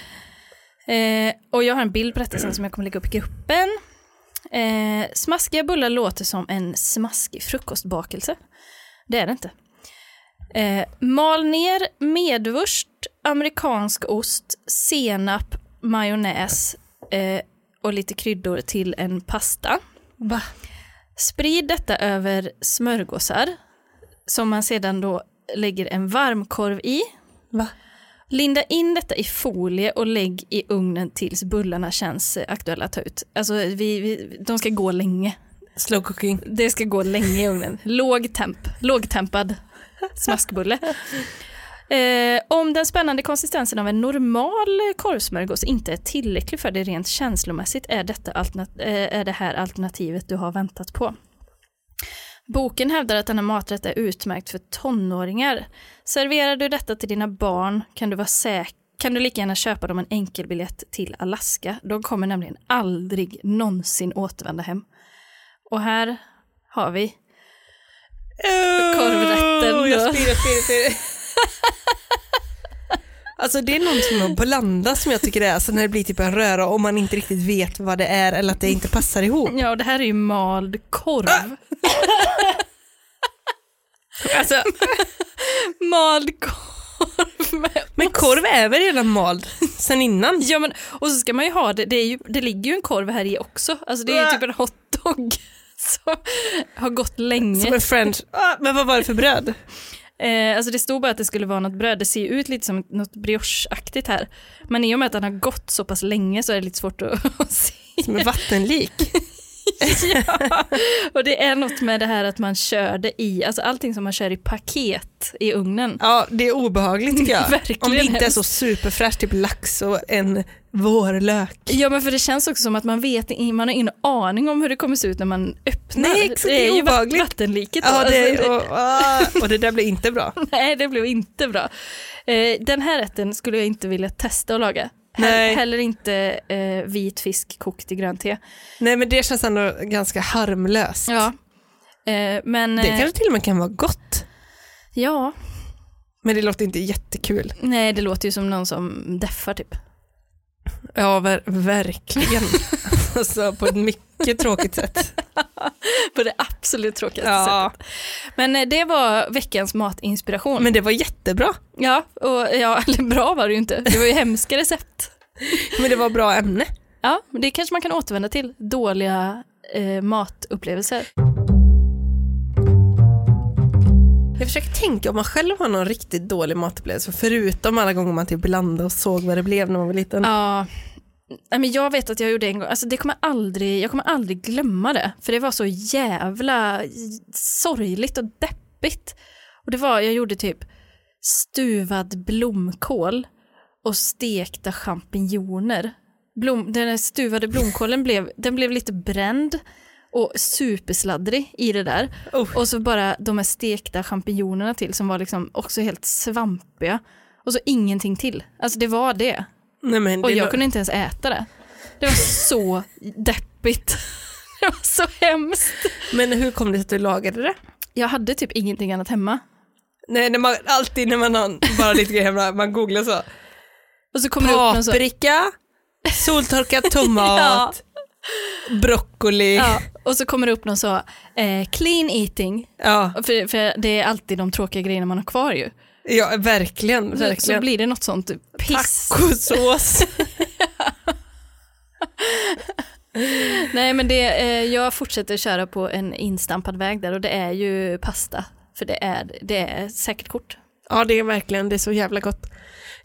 S2: Oj.
S1: Eh, och jag har en bild på detta sen som jag kommer lägga upp i gruppen. Eh, smaskiga bullar låter som en smaskig frukostbakelse. Det är det inte. Eh, mal ner medvurst, amerikansk ost, senap, majonnäs eh, och lite kryddor till en pasta.
S2: Va?
S1: Sprid detta över smörgåsar som man sedan då lägger en varmkorv i.
S2: Va?
S1: Linda in detta i folie och lägg i ugnen tills bullarna känns eh, aktuella att ta ut. Alltså vi, vi, de ska gå länge.
S2: Slow cooking.
S1: Det ska gå länge i ugnen. Låg temp, lågtempad smaskbulle. Eh, om den spännande konsistensen av en normal korvsmörgås inte är tillräcklig för dig rent känslomässigt är, detta alternat- eh, är det här alternativet du har väntat på. Boken hävdar att denna maträtt är utmärkt för tonåringar. Serverar du detta till dina barn kan du vara säker kan du lika gärna köpa dem en enkelbiljett till Alaska. De kommer nämligen aldrig någonsin återvända hem. Och här har vi. Korvrätten
S2: Åh, Jag
S1: då.
S2: spyr, jag spyr, jag spyr. Alltså det är någonting med att blanda som jag tycker det är, så när det blir typ en röra och man inte riktigt vet vad det är eller att det inte passar ihop.
S1: Ja, och det här är ju mald korv. alltså, mald korv med
S2: Men korv är väl redan mald sen innan?
S1: Ja, men, och så ska man ju ha det, det, är ju, det ligger ju en korv här i också. Alltså det är ju typ en hotdog som har gått
S2: Som
S1: länge.
S2: en french. Ah, Men vad var det för bröd?
S1: Eh, alltså det stod bara att det skulle vara något bröd, det ser ju ut lite som något briocheaktigt här. Men i och med att den har gått så pass länge så är det lite svårt att, att se.
S2: Som en vattenlik.
S1: Ja. Och det är något med det här att man kör det i, alltså allting som man kör i paket i ugnen.
S2: Ja, det är obehagligt tycker jag.
S1: Verkligen
S2: Om det inte är
S1: hemskt.
S2: så superfräscht, typ lax och en vårlök.
S1: Ja men för det känns också som att man vet, man har ingen aning om hur det kommer se ut när man öppnar.
S2: Nej, exakt, det är
S1: ju vat-
S2: obehagligt.
S1: vattenliket. då.
S2: Ja, det,
S1: Alltså,
S2: och, ah, och det där blir inte bra.
S1: Nej, det blev inte bra. Eh, den här rätten skulle jag inte vilja testa att laga. He-
S2: Nej.
S1: Heller inte eh, vit fisk kokt i grönt te.
S2: Nej men det känns ändå ganska harmlöst.
S1: Ja. Eh, men
S2: Det
S1: eh,
S2: kanske till och med kan vara gott.
S1: ja,
S2: Men det låter inte jättekul.
S1: nej det låter ju som någon som deffar typ.
S2: Ja, ver- verkligen. alltså, på ett mycket tråkigt sätt.
S1: På det absolut tråkigaste
S2: Ja.
S1: sättet. Men eh, det var veckans matinspiration.
S2: Men det var jättebra.
S1: Ja, och ja, eller bra var det ju inte. Det var ju hemska recept.
S2: Men det var bra ämne.
S1: Ja, men det kanske man kan återvända till. Dåliga eh, matupplevelser.
S2: Jag försöker tänka om man själv har någon riktigt dålig matupplevelse, förutom alla gånger man typ blandade och såg vad det blev när man var liten.
S1: Ja. Nej, men jag vet att jag gjorde en gång, alltså det kommer aldrig, jag kommer aldrig glömma det. För det var så jävla sorgligt och deppigt. Och det var, jag gjorde typ stuvad blomkål och stekta champinjoner. Blom, den här stuvade blomkålen blev, den blev lite bränd och supersladdrig i det där.
S2: Oh.
S1: Och så bara de här stekta champinjonerna till som var liksom också helt svampiga. Och så ingenting till. Alltså det var det.
S2: Nej, men
S1: Och
S2: det
S1: jag
S2: lå-
S1: kunde inte ens äta det. Det var så deppigt. Det var så hemskt.
S2: Men hur kom det sig att du lagade det?
S1: Jag hade typ ingenting annat hemma.
S2: Nej, när man, alltid när man har bara lite grejer hemma, man googlar så.
S1: Och så kommer det upp någon så,
S2: Paprika, soltorkad tomat, broccoli. Ja.
S1: ja, och så kommer det upp någon så, eh, clean eating. För, för det är alltid de tråkiga grejerna man har kvar ju.
S2: Ja, verkligen.
S1: Så, så
S2: verkligen.
S1: blir det något sånt typ, piss.
S2: Tacosås.
S1: Nej men det, eh, jag fortsätter köra på en instampad väg där och det är ju pasta. För det är, det är säkert kort.
S2: ja, det är verkligen, det är så jävla gott.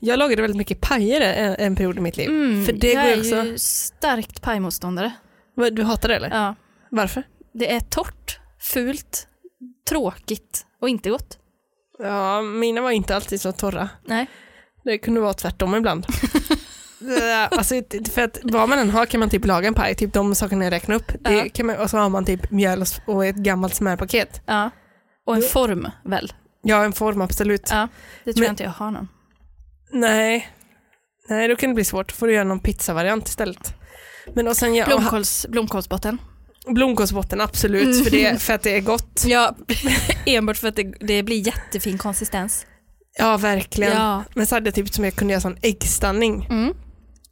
S2: Jag lagade väldigt mycket pajer en, en period i mitt liv. för det
S1: Mm, jag
S2: går Mm, ju
S1: är
S2: också...
S1: ju starkt pajmotståndare.
S2: Vad, Du hatar det eller?
S1: Ja.
S2: Varför?
S1: Det är torrt, fult, tråkigt och inte gott.
S2: Ja, mina var inte alltid så torra.
S1: Nej.
S2: Det kunde vara tvärtom ibland. Eh, alltså, för att vad man än har kan man typ laga en paj, typ de sakerna jag räknade upp.
S1: Ja.
S2: Det kan man, och så har man typ mjöl och s- och ett gammalt smörpaket.
S1: Ja. Och en form väl?
S2: Ja, en form absolut.
S1: Ja. Det tror
S2: Men-
S1: jag inte jag har någon.
S2: Nej. Nej, då kan det bli svårt. får du göra någon pizzavariant istället. Men och sen jag, och ha-
S1: Blomkåls, blomkålsbotten.
S2: blomkålsbotten, absolut,
S1: Mm.
S2: för, det, för att det är gott.
S1: Ja, enbart för att det, det blir jättefin konsistens.
S2: Ja, verkligen.
S1: Ja.
S2: Men så hade jag typ som jag kunde göra sån äggstanning.
S1: Mm.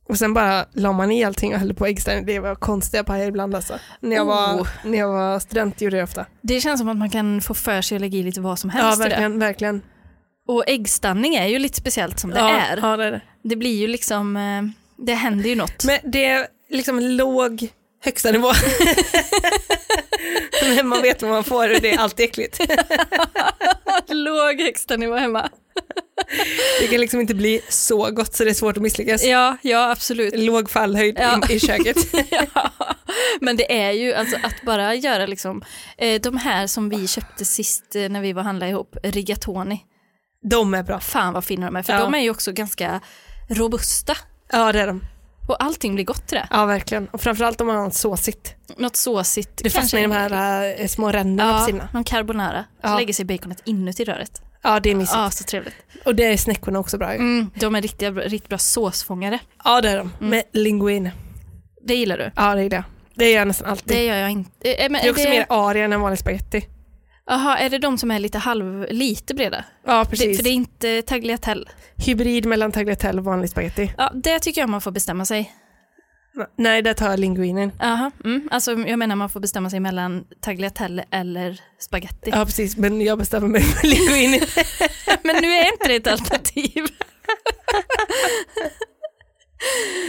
S2: Och sen bara la man i allting och hällde på äggstanning. Det var konstiga pajer ibland alltså. När
S1: Oh.
S2: jag, var, när jag var student gjorde jag det ofta.
S1: Det känns som att man kan få för sig att lägga i lite vad som
S2: Ja,
S1: helst i det.
S2: verkligen. verkligen.
S1: Och äggstanning är ju lite speciellt som det
S2: ja,
S1: är.
S2: Ja, det är det.
S1: Det blir ju liksom, eh, det händer ju något.
S2: Men det är liksom låg högsta nivå. Men man vet vad man får och det är alltid äckligt.
S1: Låg högstanivå hemma.
S2: Det kan liksom inte bli så gott så det är svårt att misslyckas.
S1: Ja, ja absolut.
S2: Låg fallhöjd
S1: Ja.
S2: in, i köket.
S1: ja. Men det är ju alltså att bara göra liksom, eh, de här som vi köpte sist eh, när vi var och handlade ihop, rigatoni.
S2: De är bra.
S1: Fan vad fina de är, för
S2: Ja.
S1: de är ju också ganska robusta.
S2: Ja, det är de.
S1: Och allting blir gott till det.
S2: Ja, verkligen. Och framförallt om man har såsigt.
S1: Något såsigt.
S2: Det fastnar i de här eh, små ränderna på
S1: ja,
S2: sidorna.
S1: någon carbonara. Så
S2: Ja.
S1: lägger sig baconet inuti röret.
S2: Ja, det är mysigt.
S1: Ja, så trevligt.
S2: Och det är snäckorna också bra ju.
S1: Mm, de är riktiga, riktigt bra såsfångare.
S2: Ja, det är de.
S1: Mm.
S2: Med linguine.
S1: Det gillar du?
S2: Ja, det är det. Det gör jag nästan alltid. Det
S1: Det
S2: är,
S1: gör jag inte. Eh, men
S2: också mer aria än vanlig spagetti.
S1: Jaha, är det de som är lite halv, lite breda?
S2: Ja,
S1: Det,
S2: precis.
S1: för det är inte tagliatelle.
S2: Hybrid mellan tagliatelle och vanlig spagetti.
S1: Ja, det tycker jag man får bestämma sig.
S2: Nej, där tar jag linguinen.
S1: Aha, mm. Alltså jag menar man får bestämma sig mellan tagliatelle eller spaghetti.
S2: Ja, precis. Men jag bestämmer mig för linguinen.
S1: Men nu är inte det ett alternativ.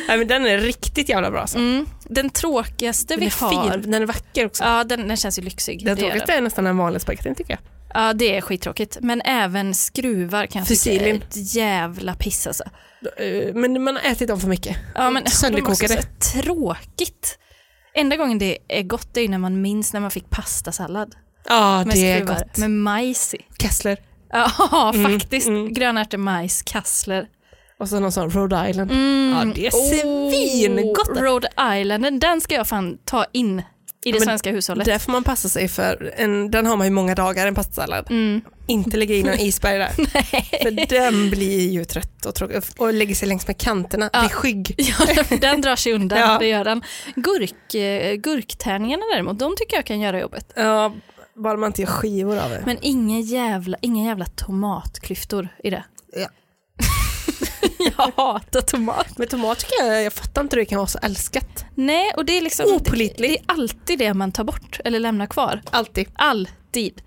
S2: Nej, men den är riktigt jävla bra. Så.
S1: Mm. Den tråkigaste
S2: Den
S1: vi
S2: är
S1: har.
S2: fin. Den är vacker också.
S1: Ja, den, den känns ju lyxig.
S2: Den
S1: det gör
S2: tråkigaste är nästan den vanliga spagettin tycker jag.
S1: den. Ja, det är skittråkigt. Men även skruvar kan jag tycka är
S2: Fusilin.
S1: ett jävla piss alltså.
S2: Eh, Men man har ätit dem för mycket.
S1: Ja, men de var också
S2: Sönderkokade.
S1: så tråkigt. Enda gången det är gott det är ju när man minns när man fick pastasallad.
S2: Ja,
S1: Med
S2: det är
S1: skruvar,
S2: gott.
S1: Med majs i.
S2: Kessler.
S1: Ja,
S2: Mm,
S1: faktiskt.
S2: mm.
S1: Grönärtor, majs, kassler.
S2: Och så någon sån Rhode Island.
S1: Mm.
S2: Ja, det är svingott.
S1: Oh, Rhode Islanden, den ska jag fan ta in i det
S2: men
S1: svenska hushållet.
S2: Där får man passa sig för, en, den har man ju många dagar, en pastasallad.
S1: Mm.
S2: Inte lägga in någon isberg där. För den blir ju trött och tråkig och lägger sig längs med kanterna,
S1: Ja.
S2: blir skygg.
S1: Ja, den drar sig undan,
S2: Ja.
S1: det gör den. Gurk, eh, gurktärningarna däremot, de tycker jag kan göra jobbet.
S2: Ja, bara man inte gör skivor av det.
S1: Men inga jävla, inga jävla tomatklyftor i det.
S2: Ja.
S1: jag hatar tomat.
S2: Men tomat tycker jag, jag fattar inte hur det kan vara så älskat.
S1: Nej, och det är liksom...
S2: Opålitlig.
S1: Det är alltid det man tar bort eller lämnar kvar.
S2: Alltid.
S1: Alltid.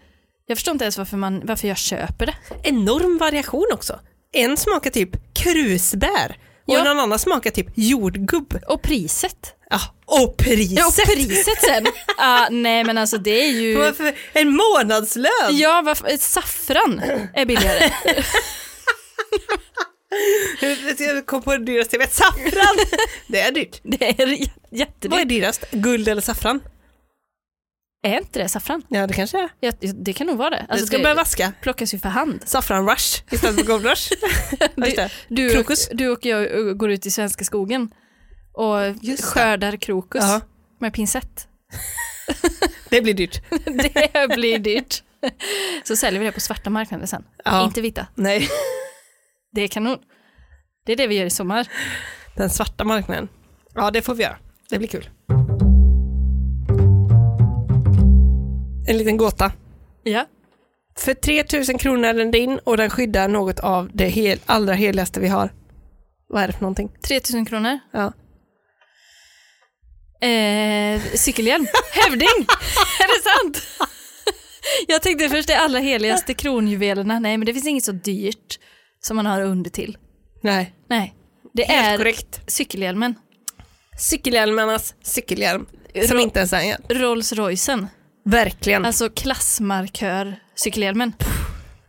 S1: Jag förstår inte ens varför, man, varför jag köper det.
S2: Enorm variation också. En smakar typ krusbär och
S1: Ja.
S2: någon annan smakar typ jordgubb.
S1: Och priset.
S2: Ja, och priset!
S1: Ja, och priset sen. ah, nej, men alltså det är ju...
S2: Varför- En månadslön!
S1: Ja, varför, saffran är billigare.
S2: Jag kom på det dyraste jag vet, saffran! det är dyrt.
S1: Det är j-
S2: Vad är
S1: jättedyrt.
S2: dyrast? Guld eller saffran?
S1: Är inte det saffran?
S2: Ja, det kanske är.
S1: Ja, det kan nog vara det.
S2: Alltså, du ska börja vaska.
S1: plockas ju för hand.
S2: Saffran rush istället för gold rush. Ja, just det.
S1: Du, och,
S2: Krokus.
S1: du och jag uh, går ut i svenska skogen och
S2: det.
S1: skördar krokus
S2: Ja.
S1: med pincett.
S2: Det blir dyrt.
S1: Det blir dyrt. Så säljer vi det på svarta marknaden sen.
S2: Ja.
S1: Inte vita.
S2: Nej,
S1: Det är kanon. Det är det vi gör i sommar.
S2: den svarta marknaden. Ja, det får vi göra. Det blir kul. En liten gåta.
S1: Ja.
S2: För 3000 kronor är den din och den skyddar något av det hel, allra heligaste vi har. Vad är det för någonting?
S1: 3000 kronor.
S2: Ja.
S1: Eh, cykelhjälm. Hävding! är det sant? Jag tänkte först det allra heligaste kronjuvelerna. Nej, men det finns inget så dyrt som man har under till.
S2: Nej,
S1: Nej, det
S2: helt
S1: är
S2: korrekt.
S1: cykelhjälmen.
S2: Cykelhjälmarnas cykelhjälm. Som
S1: Ro-
S2: inte ens är en hjälm.
S1: Rolls Roycen,
S2: Verkligen.
S1: alltså klassmarkör cykelhjälmen.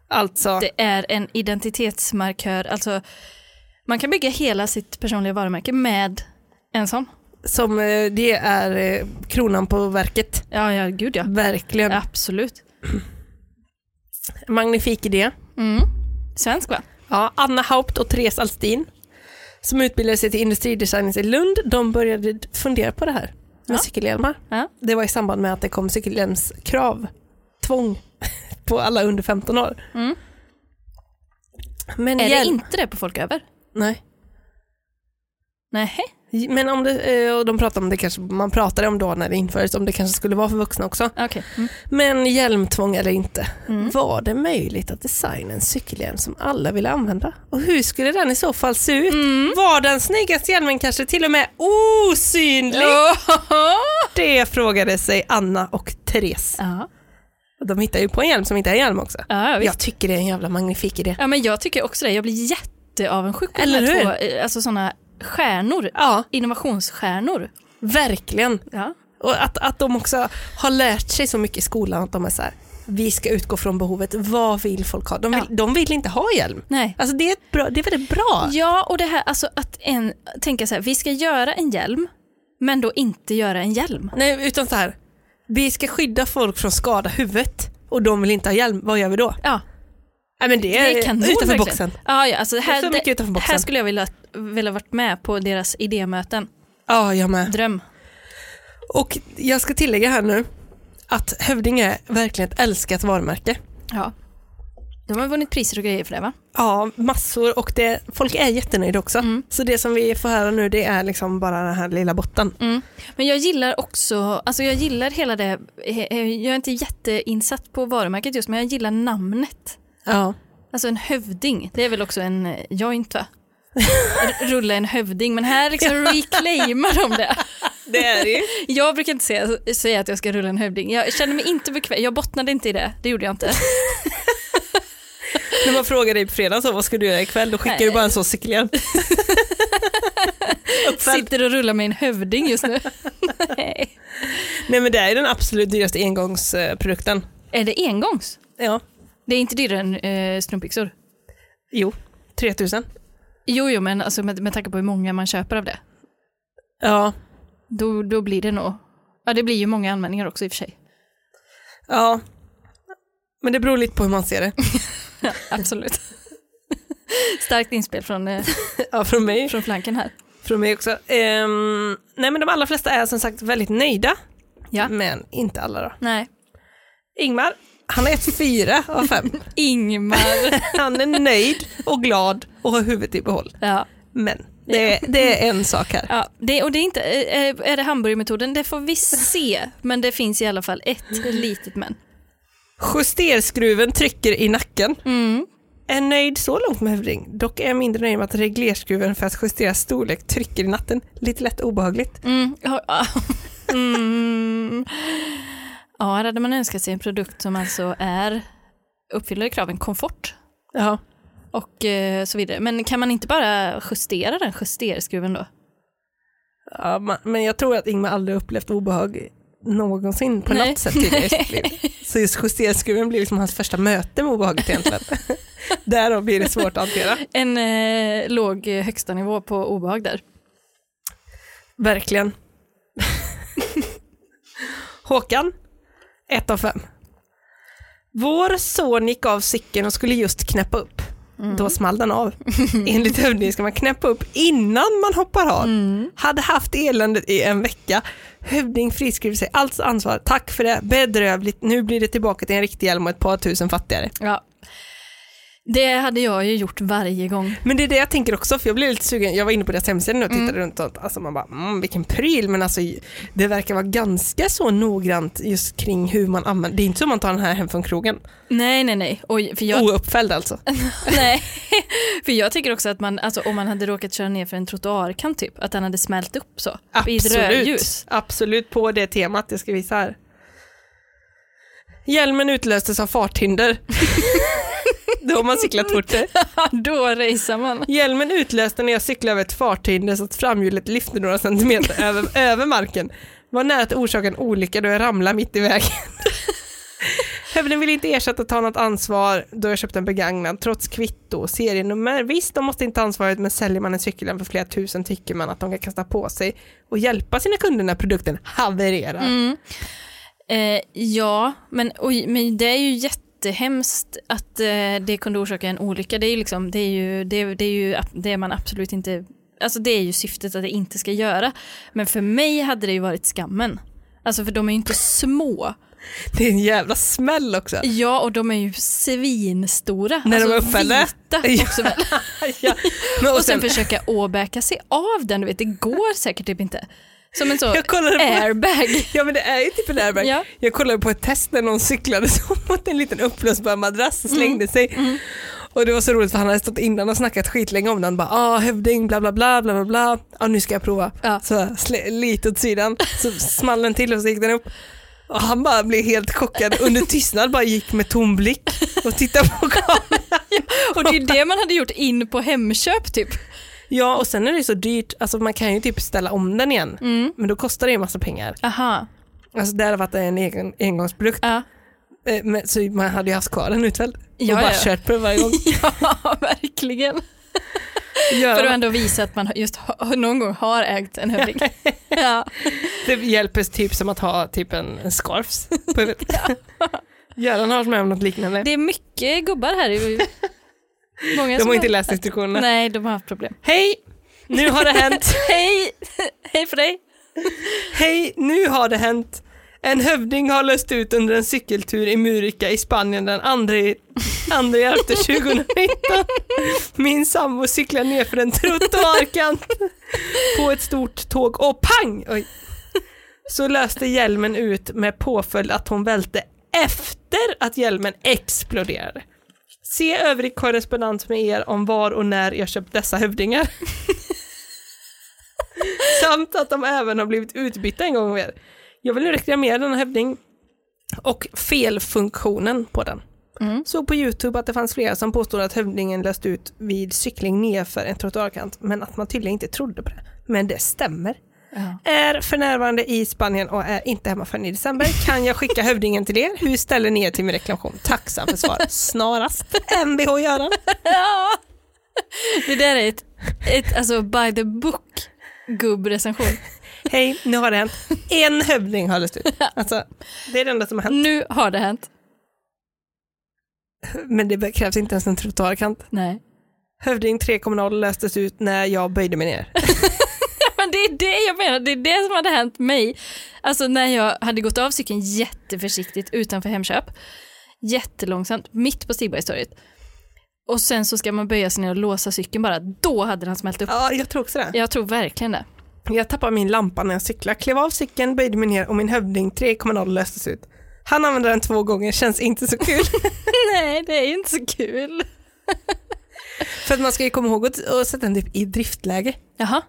S2: Alltså,
S1: Det är en identitetsmarkör. Alltså, man kan bygga hela sitt personliga varumärke med en sån.
S2: som eh, det är eh, kronan på verket.
S1: Ja, ja gud ja.
S2: Verkligen.
S1: Absolut.
S2: Magnifik idé.
S1: Mm. Svensk va?
S2: Ja, Anna Haupt och Therese Alstin som utbildade sig till industridesigners i Lund, de började fundera på det här med
S1: Ja.
S2: cykelhjälmar.
S1: Ja.
S2: Det var i samband med att det kom cykelhjälmskrav, tvång, på alla under 15 år.
S1: Mm.
S2: Men,
S1: Är det
S2: hjälm-
S1: inte det på folk över?
S2: Nej.
S1: Nej.
S2: Men om det, eh, och de pratade om det kanske, man pratade om då när det infördes, om det kanske skulle vara för vuxna också.
S1: Okej. Mm.
S2: Men hjälmtvång eller inte, var det möjligt att designa en cykelhjälm som alla ville använda? Och hur skulle den i så fall se ut?
S1: Mm.
S2: Var den snyggaste hjälmen kanske till och med osynlig? Det frågade sig Anna och Therese.
S1: Ja.
S2: Och De hittar ju på en hjälm som inte är en hjälm också.
S1: Ja, visst.
S2: Jag tycker det är en jävla magnifik idé.
S1: ja, men jag tycker också det. Jag blir jätteavundsjuk på
S2: Eller
S1: de
S2: hur?
S1: här två, eh, alltså sådana stjärnor.
S2: Ja,
S1: Innovationsstjärnor.
S2: verkligen.
S1: Ja.
S2: Och att, att de också har lärt sig så mycket i skolan att de är så här, vi ska utgå från behovet, vad vill folk ha? De vill,
S1: Ja.
S2: de vill inte ha hjälm.
S1: Nej.
S2: Alltså det är, ett bra, det är väldigt bra.
S1: Ja, och det här alltså att en, tänka så här, vi ska göra en hjälm, men då inte göra en hjälm.
S2: Nej, utan så här, vi ska skydda folk från skada huvudet och de vill inte ha hjälm, vad gör vi då?
S1: Ja,
S2: Nej men det
S1: det
S2: är,
S1: är kanon
S2: Eh, utanför
S1: verkligen.
S2: boxen.
S1: Ja, ja, alltså det här,
S2: Det är så mycket utanför boxen.
S1: här skulle jag vilja, vilja varit med på deras idémöten.
S2: Ja, jag med.
S1: Dröm.
S2: Och jag ska tillägga här nu att Hövding är verkligen ett älskat varumärke.
S1: Ja. De har vunnit priser och grejer för det va?
S2: Ja, massor och det, folk är jättenöjda också. Så det som vi får höra nu det är liksom bara den här lilla botten.
S1: Men jag gillar också, alltså jag gillar hela det, eh, eh, jag är inte jätteinsatt på varumärket just, men jag gillar namnet.
S2: Ja.
S1: Alltså en hövding, det är väl också en eh, joint va? R- Rulla en hövding, men här liksom reclaimar de det.
S2: Det är det ju.
S1: Jag brukar inte säga, säga att jag ska rulla en hövding. Jag känner mig inte bekväm. Jag bottnade inte i det. Det gjorde jag inte.
S2: När man frågar dig på fredag så, vad ska du göra ikväll? Då skickar du bara en sån cykelhjälm. Uppfälld.
S1: Sitter och rullar med en hövding just nu. Nej.
S2: Nej men det är ju den absolut dyraste engångsprodukten.
S1: Är det engångs?
S2: Ja.
S1: Det är inte dyrare än eh, strumpbyxor.
S2: Jo, 3000.
S1: Jo, jo, men alltså, med, med tanke på hur många man köper av det,
S2: Ja.
S1: då, då blir det nog... Ja, det blir ju många anmälningar också i och för sig.
S2: ja. Men det beror lite på hur man ser det.
S1: Absolut. Starkt inspel från, eh,
S2: ja, från mig.
S1: från flanken här.
S2: Från mig också. Ehm, nej men de allra flesta är som sagt väldigt nöjda.
S1: Ja.
S2: Men inte alla då.
S1: Nej.
S2: Ingmar, han är ett fyra av fem.
S1: Ingmar.
S2: Han är nöjd och glad och har huvudet i behåll.
S1: ja.
S2: Men det är, det är en sak här.
S1: Ja, det, och det är inte, eh, eh, är det hamburgermetoden? Det får vi se, men det finns i alla fall ett litet men.
S2: Justerskruven trycker i nacken.
S1: Mm.
S2: Är nöjd så långt med hövding. Dock är jag mindre nöjd med att reglerskruven för att justera storlek trycker i natten. Lite lätt obehagligt.
S1: Mm. ja, ja. Mm. Ja, här hade man önskat sig en produkt som alltså är uppfyller kraven komfort
S2: Ja.
S1: och eh, så vidare. Men kan man inte bara justera den justerskruven då?
S2: Ja, ma- men jag tror att Ingmar aldrig upplevt obehag någonsin på
S1: Nej.
S2: något sätt tidigare i sitt liv. Så just justerskruven blir liksom hans första möte med obehaget egentligen. Därav blir det svårt att hantera.
S1: En eh, låg eh, högsta nivå på obehag där.
S2: Verkligen. Håkan, ett av fem. Vår son gick av cykeln och skulle just knäppa upp. Då small den av. Enligt övningen ska man knäppa upp innan man hoppar av. Hade haft eländet i en vecka. Hövding friskriver sig allt ansvar. Tack för det, bedrövligt. Nu blir det tillbaka till en riktig hjälm och ett par tusen fattigare.
S1: Ja. Det hade jag ju gjort varje gång.
S2: Men det är det jag tänker också, för jag blev lite sugen. Jag var inne på deras hemsida nu och tittade runt och alltså man bara, mm, vilken pryl, men alltså det verkar vara ganska så noggrant just kring hur man använder, det är inte så man tar den här hem från krogen.
S1: Nej, nej, nej. Och, för jag,
S2: Ouppfälld alltså.
S1: nej. För jag tycker också att man, alltså, om man hade råkat köra ner för en trottoarkant typ, att den hade smält upp så. I ett rödljus.
S2: Absolut, absolut på det temat jag ska visa här. Hjälmen utlöstes av farthinder. Då har man cyklat fort.
S1: Då racear man.
S2: Hjälmen utlöste när jag cyklade över ett farthinder så att framhjulet lyfte några centimeter över, över marken. Var nära att orsaka en olycka då jag ramlade mitt i vägen. Hövden ville inte ersätta ta något ansvar då jag köpte en begagnad trots kvitto och serienummer. Visst, de måste inte ha ansvaret men säljer man en cykel för flera tusen tycker man att de kan kasta på sig och hjälpa sina kunder när produkten havererar.
S1: Eh, ja, men, oj, men det är ju jättehemskt att eh, det kunde orsaka en olycka. Det är ju, liksom, det är ju, det, är- det är ju ab- det man absolut inte... Alltså det är ju syftet att det inte ska göra. Men för mig hade det ju varit skammen. Alltså för de är ju inte små.
S2: Det är en jävla smäll också.
S1: Ja, och de är ju svinstora.
S2: När de
S1: alltså
S2: är uppfällda.
S1: Vita också. väl.
S2: ja. Men
S1: Och sen försöka åbäka sig av den, du vet, det går säkert typ inte. Som en sån
S2: Jag kollade på-
S1: airbag.
S2: Ja men det är ju typ en airbag.
S1: Ja.
S2: Jag kollade på ett test när någon cyklade så mot en liten uppblåsbar madrass och slängde sig. Och det var så roligt för han hade stått innan och snackat skitlänge om den. Han bara ah hövding bla bla bla bla bla bla. Ja nu ska jag prova.
S1: Ja.
S2: Så slä, lite åt sidan. Så small den till och så gick den upp. Och han bara blev helt chockad under tystnad bara gick med tom blick och tittade på kameran.
S1: Och det är ju det man hade gjort in på Hemköp typ.
S2: Ja och sen är det så dyrt, alltså man kan ju typ ställa om den igen. Men då kostar det ju en massa pengar.
S1: Aha.
S2: Alltså det hade varit en egen, engångsprodukt.
S1: Ja.
S2: Eh, Men, så man hade ju haft kvar den utfälld
S1: Ja,
S2: och bara
S1: ja.
S2: kört på den varje gång.
S1: ja, verkligen. För att
S2: Gör,
S1: ändå visa att man just har- någon gång har ägt en hövding. ja.
S2: det hjälper typ som att ha typ en, en scarfs på huvudet. Göran har varit med om något liknande.
S1: Det är mycket gubbar här. i- Många
S2: De
S1: som
S2: har inte läst instruktionerna.
S1: Nej, de har haft problem.
S2: Hej! Nu har det hänt.
S1: Hej! Hej för dig.
S2: Hej! Nu har det hänt. En hövding har löst ut under en cykeltur i Murica i Spanien den 2 efter 2019. Min sambo cyklar ner för en trottoarkant på ett stort tåg och pang! Oj. Så löste hjälmen ut med påföljd att hon välte efter att hjälmen exploderade. Se övrig korrespondens med er om var och när jag köpt dessa hövdingar. Samt att de även har blivit utbytta en gång mer. Jag vill reklamera denna hövding och felfunktionen på den. Såg på Youtube att det fanns flera som påstod att hövdingen löst ut vid cykling nedför en trottoarkant men att man tydligen inte trodde på det. Men det stämmer. Är för närvarande i Spanien och är inte hemma förrän i december. Kan jag skicka hövdingen till er? Hur ställer ni er till min reklamation? Tacksam för svar. Snarast. Mvh Göran.
S1: Det där är ett, ett alltså by the book gubbrecension.
S2: Hej, nu har det hänt. En hövding har löst ut. Alltså, det är det enda som har hänt.
S1: Nu har det hänt.
S2: Men det krävs inte ens en trottoarkant.
S1: Nej.
S2: Hövding 3.0 löstes ut när jag böjde mig ner.
S1: Men det är det jag menar, det är det som hade hänt mig. Alltså när jag hade gått av cykeln jätteförsiktigt utanför Hemköp, jättelångsamt, mitt på Stigbergstorget. Och sen så ska man böja sig ner och låsa cykeln bara, då hade den smält upp.
S2: Ja, jag tror också det.
S1: Jag tror verkligen det.
S2: Jag tappade min lampa när jag cyklade, klev av cykeln, böjde mig ner och min hövding 3.0 löstes ut. Han använde den två gånger, känns inte så kul.
S1: Nej, det är ju inte så kul.
S2: För att man ska ju komma ihåg att att sätta den typ i driftläge.
S1: Jaha,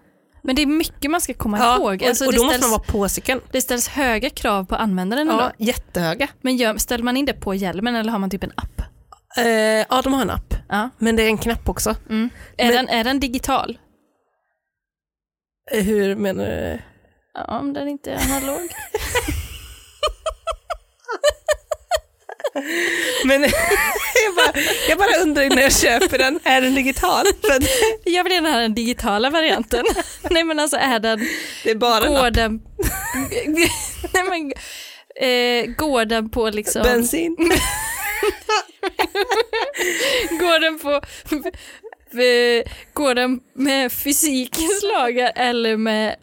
S1: men det är mycket man ska komma ihåg.
S2: och,
S1: Alltså,
S2: och
S1: det,
S2: då måste
S1: ställs,
S2: man vara på cykeln.
S1: det ställs höga krav på användaren ändå.
S2: Ja, jättehöga.
S1: Men gör, ställer man in det på hjälmen eller har man typ en app?
S2: Eh, ja, de har en app.
S1: Ja.
S2: Men det är en knapp också.
S1: Är,
S2: Men-
S1: den, är den digital?
S2: Eh, Hur menar du?
S1: Ja, om den inte är analog.
S2: Men jag, bara, jag bara undrar när jag köper den, är den digital? För att
S1: Jag vill gärna ha den digitala varianten. Nej men alltså är den,
S2: det är bara en app.
S1: går den, nej men, eh, går den på liksom,
S2: bensin.
S1: går den på, eh, går den med fysikens lagar eller med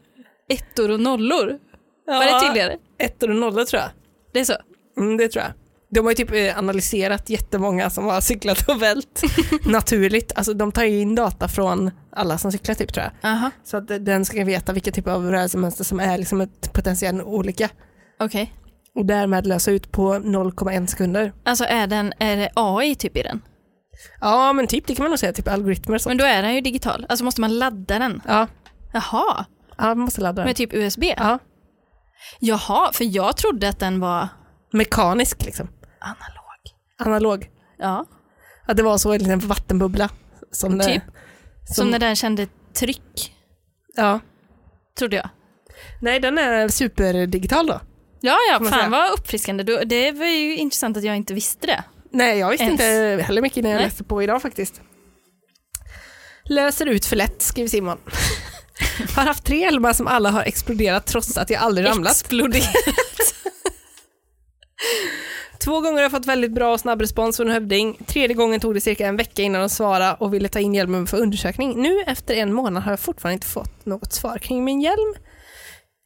S1: ettor och nollor? Var det tydligare?
S2: Ettor och nollor tror jag.
S1: Det är så?
S2: Mm, det tror jag. De har ju typ eh, analyserat jättemånga som har cyklat och vält naturligt. Alltså de tar ju in data från alla som cyklar typ tror jag.
S1: Aha,
S2: Så att eh, den ska veta vilka typer av rörelsemönster som är liksom ett potentiell olycka.
S1: okej.
S2: Och därmed lösa ut på 0,1 sekunder.
S1: Alltså är, den, är det AI typ i den?
S2: Ja men typ, det kan man nog säga, typ algoritmer och sånt.
S1: Men då är den ju digital. Alltså måste man ladda den?
S2: Ja,
S1: Jaha,
S2: ja man måste ladda den.
S1: med typ USB?
S2: Ja.
S1: Jaha, för jag trodde att den var
S2: Mekanisk liksom,
S1: analog.
S2: analog.
S1: Ja,
S2: Att det var så en liten vattenbubbla. Som,
S1: Typ.
S2: eh,
S1: som,
S2: Som-
S1: när den kände tryck,
S2: Ja.
S1: trodde jag.
S2: Nej den är superdigital då.
S1: Ja, ja,
S2: man
S1: fan
S2: säga.
S1: vad uppfriskande. Du- Det var ju intressant att jag inte visste det.
S2: Nej, jag visste
S1: Ens.
S2: inte heller mycket innan jag
S1: Nej.
S2: läste på idag faktiskt. Löser ut för lätt, skriver Simon. har haft tre hjälmar som alla har exploderat trots att jag aldrig ramlat.
S1: Exploderat.
S2: Två gånger har jag fått väldigt bra och snabb respons från Hövding. Tredje gången tog det cirka en vecka innan de svarade och ville ta in hjälmen för undersökning. Nu efter en månad har jag fortfarande inte fått något svar kring min hjälm.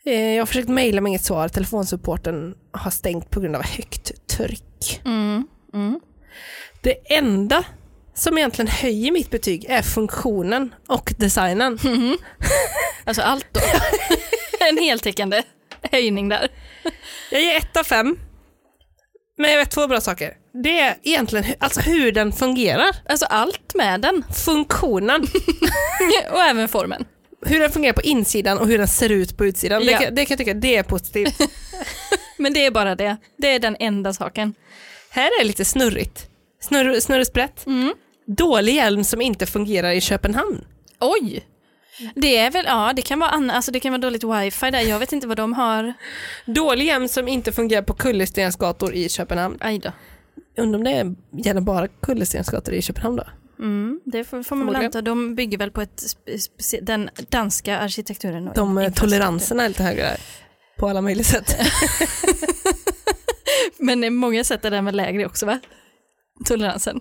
S2: Eh, Jag har försökt mejla men inget svar. Telefonsupporten har stängt på grund av högt tryck.
S1: Mm, mm.
S2: Det enda som egentligen höjer mitt betyg är funktionen och designen.
S1: Alltså allt då. en heltäckande höjning där.
S2: Jag ger ett av fem. Men jag vet två bra saker. Det är egentligen hu- alltså hur den fungerar.
S1: Alltså allt med den.
S2: Funktionen.
S1: Och även formen.
S2: Hur den fungerar på insidan och hur den ser ut på utsidan.
S1: Ja.
S2: Det, kan, det kan jag tycka det är positivt.
S1: Men det är bara det. Det är den enda saken.
S2: Här är det lite snurrigt. Snurr, snurr och sprätt. Dålig hjälm som inte fungerar i Köpenhamn.
S1: Oj! Det är väl, ja det kan vara, ann- alltså det kan vara dåligt wifi där. Jag vet inte vad de har.
S2: Dålig hjälm som inte fungerar på kullerstensgator i Köpenhamn.
S1: Aj då.
S2: Undrar om det gäller bara kullerstensgator i Köpenhamn då?
S1: Mm, det får, får man väl
S2: Förmodligen.
S1: anta. De bygger väl på ett, spe- spe- den danska arkitekturen. och
S2: De eh,
S1: infrastrukturen.
S2: toleranserna är lite högre där. På alla möjliga sätt.
S1: Men i många sätt är den väl lägre också va? Toleransen.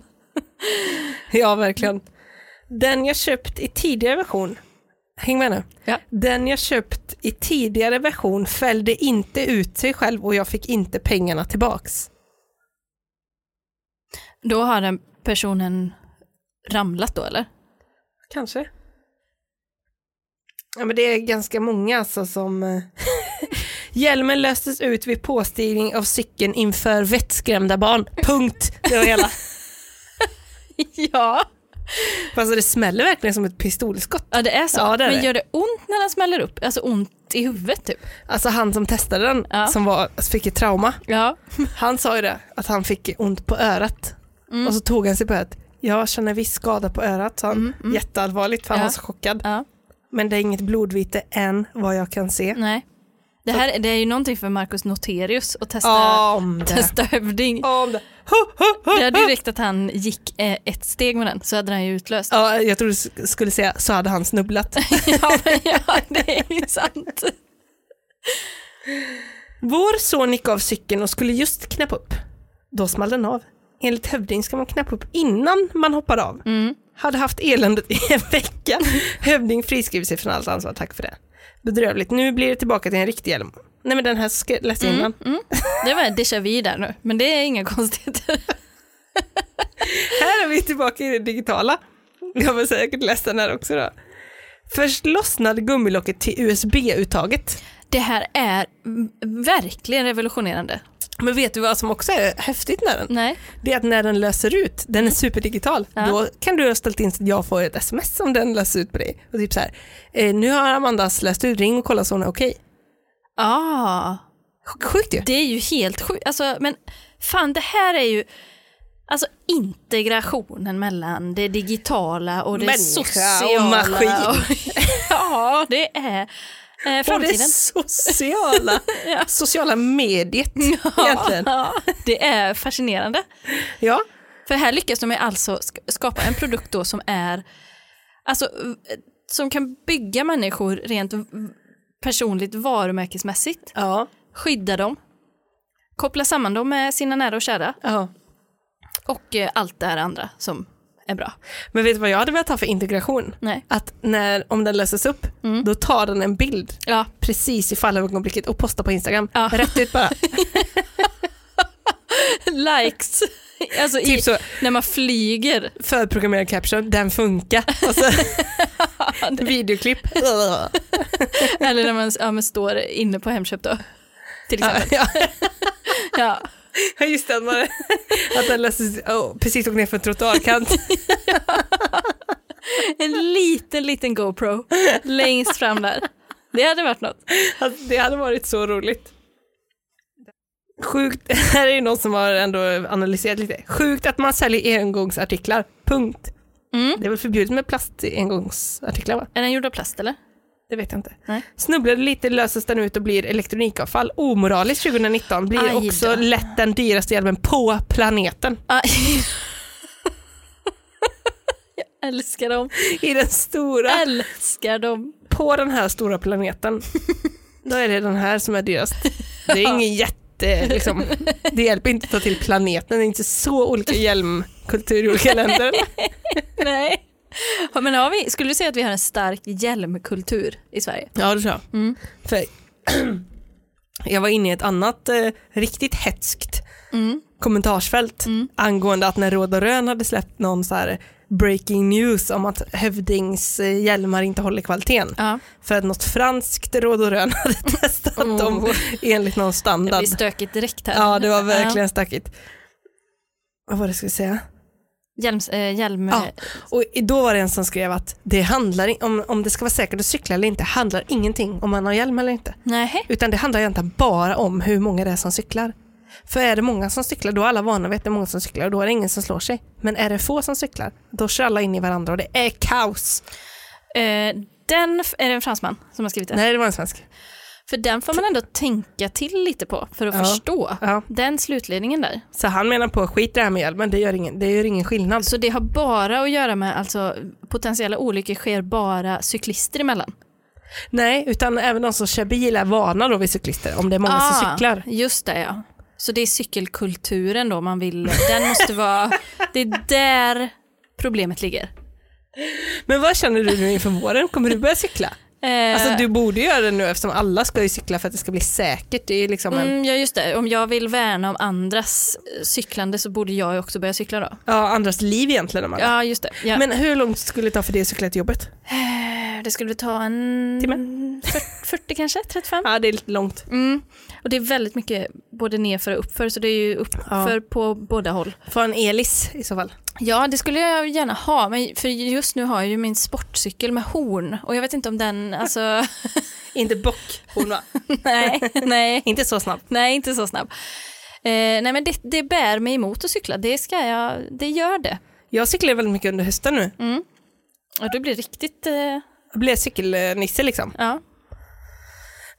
S2: ja, verkligen. Den jag köpt i tidigare version, häng med nu.
S1: Ja.
S2: Den jag köpt i tidigare version fällde inte ut sig själv och jag fick inte pengarna tillbaks.
S1: Då har den personen ramlat då eller?
S2: Kanske. Ja, men det är ganska många alltså som... eh, Hjälmen löstes ut vid påstigning av cykeln inför vettskrämda barn. Punkt. Det var hela.
S1: ja.
S2: alltså det smäller verkligen som ett pistolskott.
S1: Ja det är så.
S2: Ja, det är
S1: Men
S2: det.
S1: gör det ont när den smäller upp? Alltså ont i huvudet typ?
S2: Alltså han som testade den,
S1: Ja.
S2: som var, fick ett trauma,
S1: Ja.
S2: han sa ju det, att han fick ont på örat.
S1: Mm.
S2: Och så tog han sig på örat. Jag känner viss skada på örat, sa han. Jätteallvarligt, för han
S1: Mm, Ja.
S2: var så chockad.
S1: ja.
S2: Men det är inget blodvite än, vad jag kan se.
S1: Nej. Det här det är ju någonting för Marcus Noterius att testa,
S2: Om det.
S1: testa hövding.
S2: Om det. Ho, ho, ho,
S1: Det är
S2: ho.
S1: direkt att han gick eh, ett steg med den så hade den ju utlöst.
S2: Ja, jag tror du sk- skulle säga så hade han snubblat.
S1: ja, men, ja, det är ju sant.
S2: Vår son gick av cykeln och skulle just knäppa upp. Då small den av. Enligt Hövding ska man knäppa upp innan man hoppar av. Hade haft eländet i en vecka. Hövding friskriver sig från allt ansvar, tack för det. Bedrövligt, nu blir det tillbaka till en riktig hjälm. Nej men den här ska jag läsa
S1: Mm.
S2: innan.
S1: Det var déjà vu där nu, men det är inga konstigheter.
S2: Här är vi tillbaka i det digitala. Jag har säkert läst den här också då. Först lossnade gummilocket till USB-uttaget.
S1: Det här är mm, verkligen revolutionerande.
S2: Men vet du vad som också är häftigt med den?
S1: Nej.
S2: Det är att när den löser ut, den är superdigital,
S1: Mm. Ja.
S2: då kan du ha ställt in så att jag får ett sms om den löser ut på dig. Och typ så här, eh, nu har Amandas läst ut, ring och kolla så hon är okej.
S1: Ah,
S2: Sj- Sjukt ju.
S1: det är ju helt sjukt. Alltså, men fan, det här är ju alltså, integrationen mellan det digitala och det
S2: Människa och
S1: sociala.
S2: maskin.
S1: ja, det är eh,
S2: Och det
S1: framtiden.
S2: sociala,
S1: Ja.
S2: sociala mediet egentligen.
S1: Ja, det är fascinerande.
S2: Ja.
S1: För här lyckas de ju alltså sk- skapa en produkt då som är, alltså eh, som kan bygga människor rent v- personligt varumärkesmässigt,
S2: Ja.
S1: skydda dem, koppla samman dem med sina nära och kära
S2: ja.
S1: och eh, allt det här andra som är bra.
S2: Men vet du vad jag hade velat ha för integration?
S1: Nej.
S2: Att när, om den löses upp,
S1: Mm.
S2: då tar den en bild
S1: Ja,
S2: precis i fallögonblicket och postar på Instagram.
S1: Ja.
S2: Rätt ut bara.
S1: likes. Alltså i,
S2: Typ så,
S1: när man flyger.
S2: förprogrammerad caption, den funkar. Och så videoklipp. ja,
S1: Eller när man ja, men står inne på Hemköp då. Till exempel. Ja.
S2: ja, just det, att man, att den läses, oh, precis åkt ner för en trottoarkant.
S1: En liten, liten GoPro längst fram där. Det hade varit något.
S2: Alltså, det hade varit så roligt. Sjukt, här är ju någon som har ändå analyserat lite. Sjukt att man säljer engångsartiklar, punkt.
S1: Mm.
S2: Det är väl förbjudet med plastengångsartiklar va?
S1: Är den gjord av plast eller?
S2: Det vet jag inte.
S1: Nej.
S2: Snubblade lite löses den ut och blir elektronikavfall. Omoraliskt 2019 blir
S1: Aj då.
S2: också lätt den dyraste hjälmen på planeten.
S1: Aj. Jag älskar dem.
S2: I den stora,
S1: Älskar dem.
S2: på den här stora planeten. Då är det den här som är dyrast. Det är ingen jätte, liksom, det hjälper inte att ta till planeten. Det är inte så olika hjälmkultur i olika länder.
S1: Nej. Ja, Men har vi, skulle du säga att vi har en stark hjälmkultur i Sverige?
S2: Ja, det tror jag. Mm. För jag var inne i ett annat eh, riktigt hetskt kommentarsfält angående att när Råd och Rön hade släppt någon så här breaking news om att Hövdings eh, hjälmar inte håller kvaliteten.
S1: Ja.
S2: För att något franskt Råd och Rön hade testat
S1: Oh.
S2: dem enligt någon
S1: Det
S2: standard.
S1: blir stökigt direkt här.
S2: Ja, det var verkligen stökigt. Vad var det jag skulle säga?
S1: Hjälms, eh, hjälm...
S2: Ja. Och då var det en som skrev att det handlar, i- om, om det ska vara säkert att cykla eller inte handlar ingenting om man har hjälm eller inte.
S1: Nej.
S2: Utan det handlar egentligen bara om hur många det är som cyklar. För är det många som cyklar, då är alla vana vid att det är många som cyklar och då är det ingen som slår sig. Men är det få som cyklar, då kör alla in i varandra och det är kaos.
S1: Eh, den, f- är det en fransman som har skrivit den?
S2: Nej, det var en svensk.
S1: För den får man ändå tänka till lite på för att
S2: Ja.
S1: förstå.
S2: Ja.
S1: Den slutledningen där.
S2: Så han menar på skit det här med hjälmen, det gör ingen, det gör ingen skillnad.
S1: Så det har bara att göra med, alltså potentiella olyckor sker bara cyklister emellan.
S2: Nej, utan även de som kör bil är vana då vid cyklister, om det är många som alltså cyklar.
S1: Ah, Just det ja. Så det är cykelkulturen då man vill, den måste vara, det är där problemet ligger.
S2: Men vad känner du nu inför våren? Kommer du börja cykla?
S1: Eh,
S2: Alltså du borde göra det nu eftersom alla ska ju cykla för att det ska bli säkert. Det är ju liksom en,
S1: mm, ja just det, om jag vill värna om andras eh, cyklande så borde jag ju också börja cykla då.
S2: ja, andras liv egentligen. Om alla.
S1: Ja just det. Ja.
S2: Men hur långt skulle det ta för dig att cykla till jobbet?
S1: Eh, det skulle väl ta en...
S2: Timme?
S1: 40, 40 kanske, 35?
S2: Ja, det är lite långt.
S1: Mm. Och det är väldigt mycket både nerför och uppför så det är ju uppför på båda håll.
S2: Få en elis i så fall.
S1: Ja, det skulle jag gärna ha, men för just nu har jag ju min sportcykel med horn och jag vet inte om den, alltså,
S2: Inte bock, hon var.
S1: nej, nej,
S2: Inte så snabbt.
S1: nej, inte så snabb. Eh, nej, men det, det bär mig emot att cykla, det ska jag, det gör det.
S2: Jag cyklar väldigt mycket under hösten nu.
S1: Och det blir riktigt, eh,
S2: Jag blev cykelnisse liksom.
S1: ja.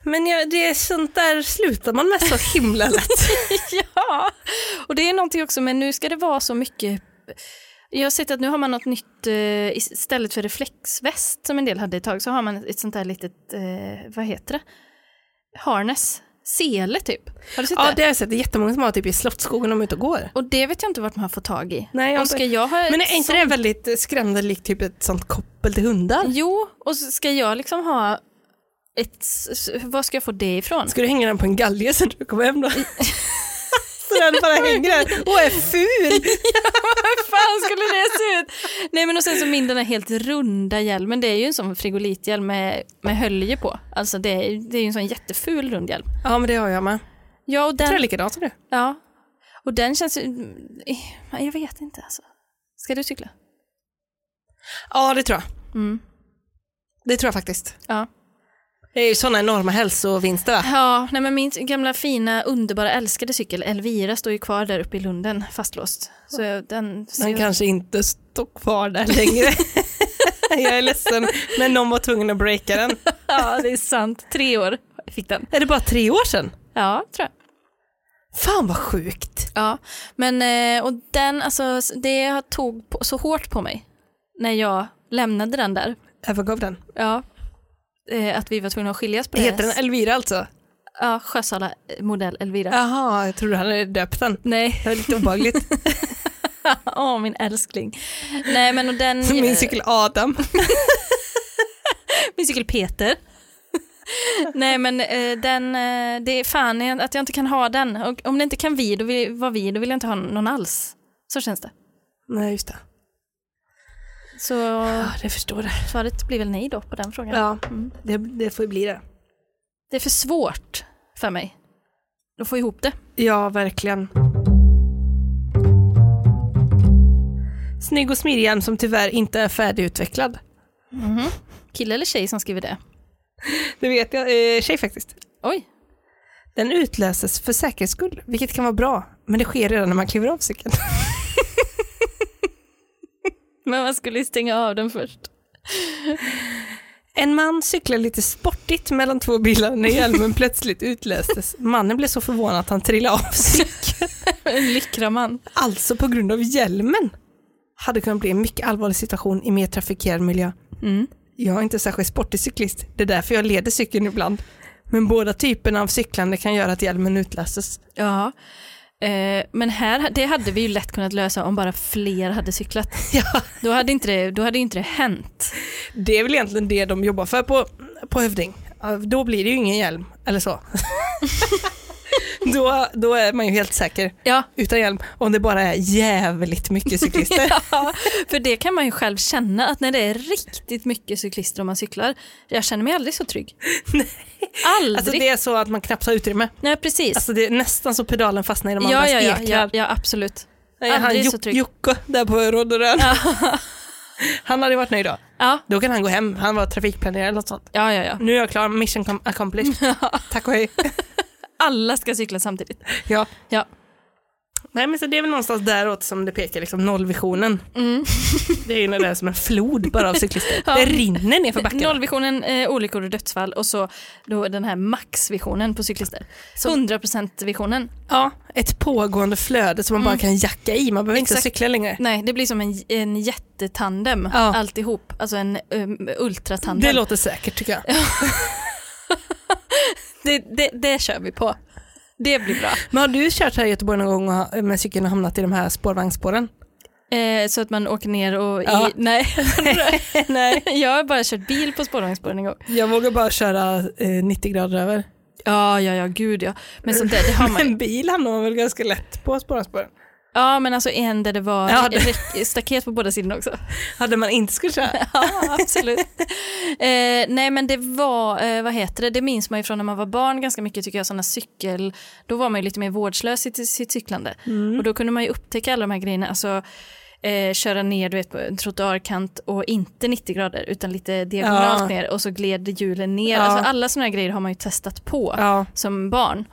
S2: Men jag, det är sånt där slutar man med så himla lätt.
S1: ja, och det är någonting också, men nu ska det vara så mycket jag har sett att nu har man något nytt, eh, istället för reflexväst som en del hade ett tag, så har man ett sånt där litet, eh, vad heter det? Harness, sele typ. Har du sett
S2: ja,
S1: det?
S2: det har jag sett. Det är jättemånga som har typ i Slottsskogen de är ute och går.
S1: Och det vet jag inte vart man får tag i.
S2: Nej, jag har
S1: och ska
S2: inte-
S1: jag ha
S2: Men
S1: ett
S2: är inte
S1: sånt-
S2: det väldigt skrämmande likt typ ett sånt koppel till hundar?
S1: Jo, och så ska jag liksom ha ett... s- s- Vad ska jag få det ifrån?
S2: Ska du hänga den på en galge sen du kommer hem då? så den bara hänger där och är ful.
S1: Hur fan skulle det se ut? Nej men och sen så min den här helt runda hjälmen, det är ju en sån frigolithjälm med, med hölje på. Alltså det är, det är ju en sån jätteful rund hjälm.
S2: Ja, men det har jag med.
S1: Ja och
S2: Jag tror jag är
S1: den,
S2: likadant som du.
S1: ja. och den känns ju... eh, Jag vet inte alltså. Ska du cykla?
S2: Ja, det tror jag.
S1: Mm.
S2: Det tror jag faktiskt.
S1: Ja.
S2: Det är ju sådana enorma hälsovinster va?
S1: Ja, nej men min gamla fina underbara älskade cykel Elvira står ju kvar där uppe i lunden fastlåst. Så jag- den... Så
S2: Den
S1: jag,
S2: kanske inte står kvar där längre. jag är ledsen, men någon var tvungen att breaka den.
S1: ja, det är sant. Tre år fick den.
S2: Är det bara tre år sedan?
S1: Ja, tror jag.
S2: Fan vad sjukt.
S1: Ja, men eh, och den, alltså det har tog på, så hårt på mig när jag lämnade den där.
S2: Övergav den.
S1: Ja. Eh, att vi var tvungna att skiljas på det.
S2: Heter den Elvira alltså?
S1: Ja, Sjösala eh, modell Elvira.
S2: Jaha, jag trodde han hade döpt den.
S1: Nej,
S2: Det var lite obehagligt.
S1: åh min älskling. Nej men
S2: Mm.
S1: och den,
S2: Min cykel Adam.
S1: min cykel eh, Peter. Nej men eh, den, eh, det är fan jag- att jag inte kan ha den. Och om det inte kan vi, då vill, vara vi, då vill jag inte ha någon alls. Så känns det.
S2: Nej, just det.
S1: Så
S2: Ja, det förstår jag.
S1: svaret blir väl nej då på den frågan.
S2: Ja,
S1: Mm.
S2: det, det får ju bli det.
S1: Det är för svårt för mig att få ihop det.
S2: Ja, verkligen. Snygg och smidig hjälm som tyvärr inte är färdigutvecklad.
S1: Kille eller tjej som skriver det?
S2: Det vet jag. Eh, tjej faktiskt.
S1: Oj,
S2: Den utlöses för säkerhets skull, vilket kan vara bra, men det sker redan när man kliver av cykeln.
S1: men man skulle ju stänga av den först.
S2: En man cyklar lite sportigt mellan två bilar när hjälmen plötsligt utlöstes. Mannen blev så förvånad att han trillade av cykeln.
S1: En lyckraman.
S2: Alltså på grund av hjälmen. Hade kunnat bli en mycket allvarlig situation i mer trafikerad miljö.
S1: Mm.
S2: Jag är inte särskilt sportig cyklist. Det är därför jag leder cykeln ibland. Men båda typerna av cyklande kan göra att hjälmen utlöses.
S1: Ja. Eh, men här, det hade vi ju lätt kunnat lösa om bara fler hade cyklat.
S2: Ja,
S1: Då hade inte det, då hade inte det hänt.
S2: det är väl egentligen det de jobbar för på, på Hövding. Ja, Då blir det ju ingen hjälm, eller så. då, då är man ju helt säker
S1: Ja,
S2: utan hjälm. Om det bara är jävligt mycket cyklister.
S1: Ja, för det kan man ju själv känna att när det är riktigt mycket cyklister och man cyklar, jag känner mig aldrig så trygg. Aldrig.
S2: Alltså det är så att man knappt har utrymme.
S1: Nej, precis.
S2: Alltså det är nästan så pedalen fastnar i de
S1: ja,
S2: andras
S1: ja, ja,
S2: ekrar.
S1: ja, ja, absolut.
S2: Nej, han
S1: Aldrig så
S2: Jok-
S1: trygg.
S2: Jocke där på Rådderön.
S1: Ja.
S2: Han hade varit nöjd då.
S1: Ja,
S2: Då kan han gå hem. Han var trafikplanerare eller något sånt.
S1: ja, ja, ja.
S2: Nu är jag klar. Mission com- accomplished. Tack och hej.
S1: Alla ska cykla samtidigt.
S2: Ja.
S1: Ja.
S2: Nej, men så det är väl någonstans däråt som det pekar, liksom nollvisionen.
S1: Mm.
S2: Det är ju när det är som en flod bara av cyklister.
S1: Ja.
S2: Det rinner ner för backen.
S1: Nollvisionen, eh, olyckor och dödsfall och så då den här maxvisionen på cyklister. 100% visionen.
S2: Ja, ett pågående flöde som man bara kan jacka i. Man behöver inte
S1: Mm. Exakt. Mm.
S2: cykla längre.
S1: Nej, det blir som en, en jättetandem
S2: Ja.
S1: alltihop. Alltså en um, ultratandem.
S2: Det låter säkert tycker jag.
S1: det, det, det kör vi på. Det blir bra.
S2: Men har du kört här i Göteborg någon gång och ha- med cykeln och hamnat i de här spårvagnsspåren?
S1: Eh, så att man åker ner och... I,
S2: Ja.
S1: Nej.
S2: Nej.
S1: jag har bara kört bil på spårvagnsspåren en gång.
S2: Jag vågar bara köra eh, 90 grader över.
S1: Ja, ja, ja, gud ja. Men sånt där, det har man ju.
S2: En bil hamnar man väl ganska lätt på spårvagnsspåren?
S1: Ja, men alltså en där det var
S2: Ja, det-
S1: räck- staket på båda sidorna också.
S2: Hade man inte skulle köra?
S1: Ja, absolut. eh, nej, men det var, eh, vad heter det, det minns man ju från när man var barn ganska mycket tycker jag, sådana cykel, då var man ju lite mer vårdslös i t- sitt cyklande.
S2: Mm.
S1: Och då kunde man ju upptäcka alla de här grejerna, alltså eh, köra ner du vet, på en trottoarkant och inte 90 grader utan lite diagonalt
S2: Ja.
S1: ner och så gled hjulen ner.
S2: Ja.
S1: Alltså, alla sådana här grejer har man ju testat på
S2: Ja.
S1: som barn.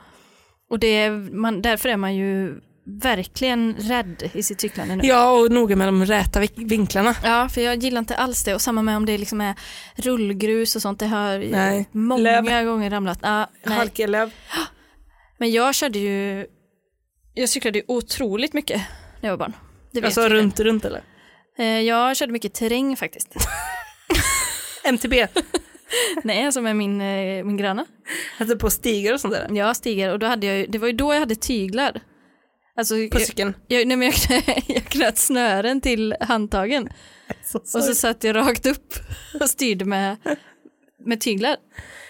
S1: Och det, man, därför är man ju verkligen rädd i sitt cyklande nu.
S2: ja, och noga med de räta vik- vinklarna.
S1: Ja, för jag gillar inte alls det. Och samma med om det liksom är rullgrus och sånt. Det har ju
S2: Nej.
S1: många
S2: Löv.
S1: gånger ramlat. Ja, nej.
S2: Halkelöv.
S1: Men jag körde ju... Jag cyklade ju otroligt mycket när jag var barn. Det vet
S2: Alltså
S1: jag.
S2: runt, runt eller?
S1: Eh, Jag körde mycket terräng faktiskt.
S2: MTB.
S1: nej, alltså med min, eh, min granne.
S2: Alltså på stigar och sånt där.
S1: Jag stiger och då hade jag ju, det var ju då jag hade tyglar. Alltså,
S2: På
S1: jag,
S2: cykeln.
S1: jag, nej, men jag, knö- jag knöt snören till handtagen och så satt jag rakt upp och styrde med, med tyglar.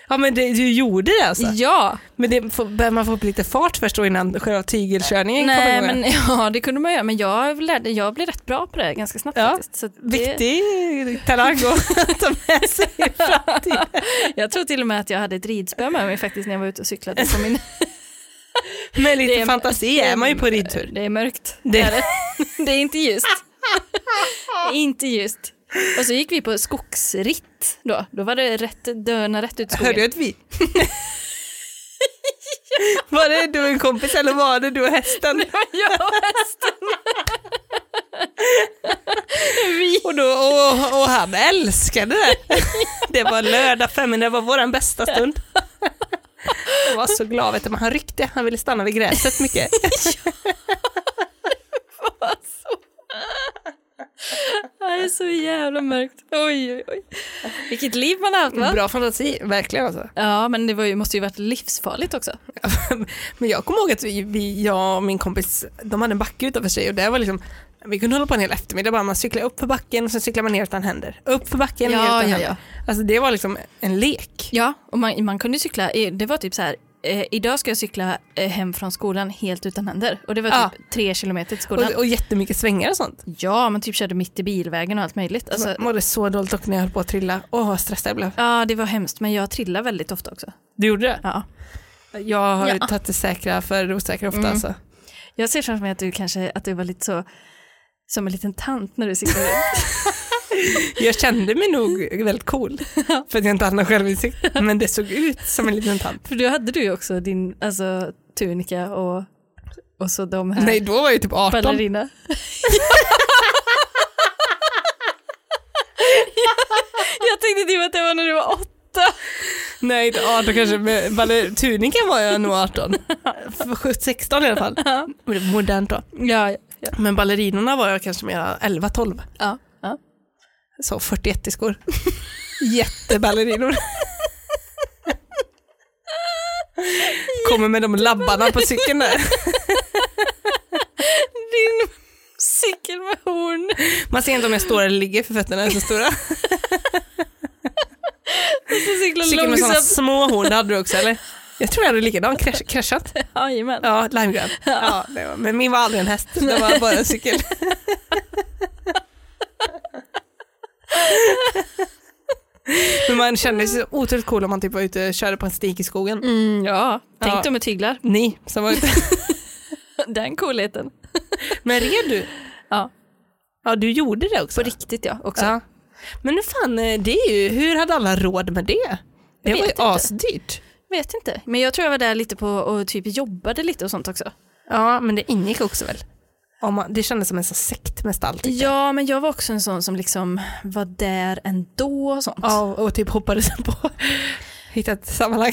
S2: Ja men det, du gjorde det alltså?
S1: Ja!
S2: Men det får, behöver man få upp lite fart först då innan själva tygelkörningen kommer
S1: Nej,
S2: igång?
S1: men ja, det kunde man göra. Men jag, lärde, jag blev rätt bra på det här ganska snabbt
S2: Ja,
S1: faktiskt. Så att det,
S2: Viktig talang att ta med sig i framtiden.
S1: jag tror till och med att jag hade ett ridspö med mig faktiskt när jag var ute och cyklade. På min,
S2: Med lite
S1: Det är-
S2: fantasi är man ju på ridtur.
S1: det är mörkt.
S2: Det-
S1: Det är, det. det är inte ljust. Det är inte ljust. Och så gick vi på skogsritt då. Då var det rätt, döna rätt ut i
S2: Hörde jag
S1: skogen.
S2: ett vi? Var det du och en kompis eller var det du och hästen?
S1: Jag och hästen. vi,
S2: Och, då, och, och han älskade det. Det var lördag förmiddag, det var vår bästa stund. Jag var så glad, vet du, men han ryckte, han ville stanna vid gräset mycket.
S1: det är så jävla mörkt. Oj, oj, oj. Vilket liv man har haft va?
S2: Bra fantasi, verkligen alltså.
S1: Ja, men det var ju, måste ju varit livsfarligt också.
S2: Men jag kommer ihåg att vi, vi, jag och min kompis, de hade en backe utanför sig och där var liksom Vi kunde hålla på en hel eftermiddag bara man cyklar upp för backen och sen cyklar man ner utan händer. Upp för backen och ner
S1: Ja,
S2: utan
S1: ja,
S2: händer.
S1: ja.
S2: Alltså det var liksom en lek.
S1: Ja, och man, man kunde cykla, eh, det var typ så här, eh, idag ska jag cykla eh, hem från skolan helt utan händer. Och det var
S2: Ja.
S1: typ tre kilometer till skolan.
S2: Och, och jättemycket svängar och sånt.
S1: Ja, man typ körde mitt i bilvägen och allt möjligt. Alltså,
S2: Jag mådde så dåligt och när jag höll på att trilla. Åh vad stressad jag blev.
S1: ja, det var hemskt, men jag trillar väldigt ofta också.
S2: Du gjorde det?
S1: Ja.
S2: Jag har ju
S1: Ja. Mm.
S2: tagit det säkra för det osäkra ofta alltså.
S1: Jag ser framför mig att du kanske, att du var lite så, som en liten tant när du cyklade.
S2: Jag kände mig nog väldigt cool för att jag inte hade någon självinsikt. Men det såg ut som en liten tant.
S1: För då hade du ju också din, alltså tunika och, och så de här
S2: Nej, då var jag ju typ 18.
S1: ballerina. jag tänkte typ att det var när du var åtta.
S2: Nej, inte 18 kanske, men baller- tunikan var jag nog 18. För 16 i alla fall. Men det var Modernt då.
S1: Ja, ja.
S2: Men ballerinorna var jag kanske mera 11-12.
S1: ja, ja.
S2: Så 41 skor. Jätteballerinor. Kommer med de labbarna på cykeln där.
S1: Din cykel med horn.
S2: Man ser inte om jag står eller ligger för fötterna är så stora.
S1: Du cyklar
S2: Cykeln med sådana
S1: långsamt.
S2: små horn det hade du också eller? Jag tror jag hade likadan, krasch, kraschat.
S1: Jajamän.
S2: Ja, limegrön. Ja, det var- men min var aldrig en häst, det var bara en cykel. Men man kände sig så otroligt cool om man typ var ute och körde på en stig i skogen.
S1: Mm, ja. Tänk
S2: Ja.
S1: dig med tyglar.
S2: Ni som var ute.
S1: Den coolheten.
S2: Men red du?
S1: Ja.
S2: Ja, du gjorde det också.
S1: På riktigt ja, också.
S2: Ja. Men nu fan, eh, det är ju, hur hade alla råd med det? Det
S1: Jag
S2: var ju
S1: vet inte.
S2: asdyrt.
S1: Vet inte. Men jag tror jag var där lite på och typ jobbade lite och sånt också.
S2: Ja, men det ingick också väl? Om man, det kändes som en sån sekt med allt.
S1: Ja, men jag var också en sån som liksom var där ändå och sånt.
S2: Ja, och typ hoppades på hitta ett sammanhang.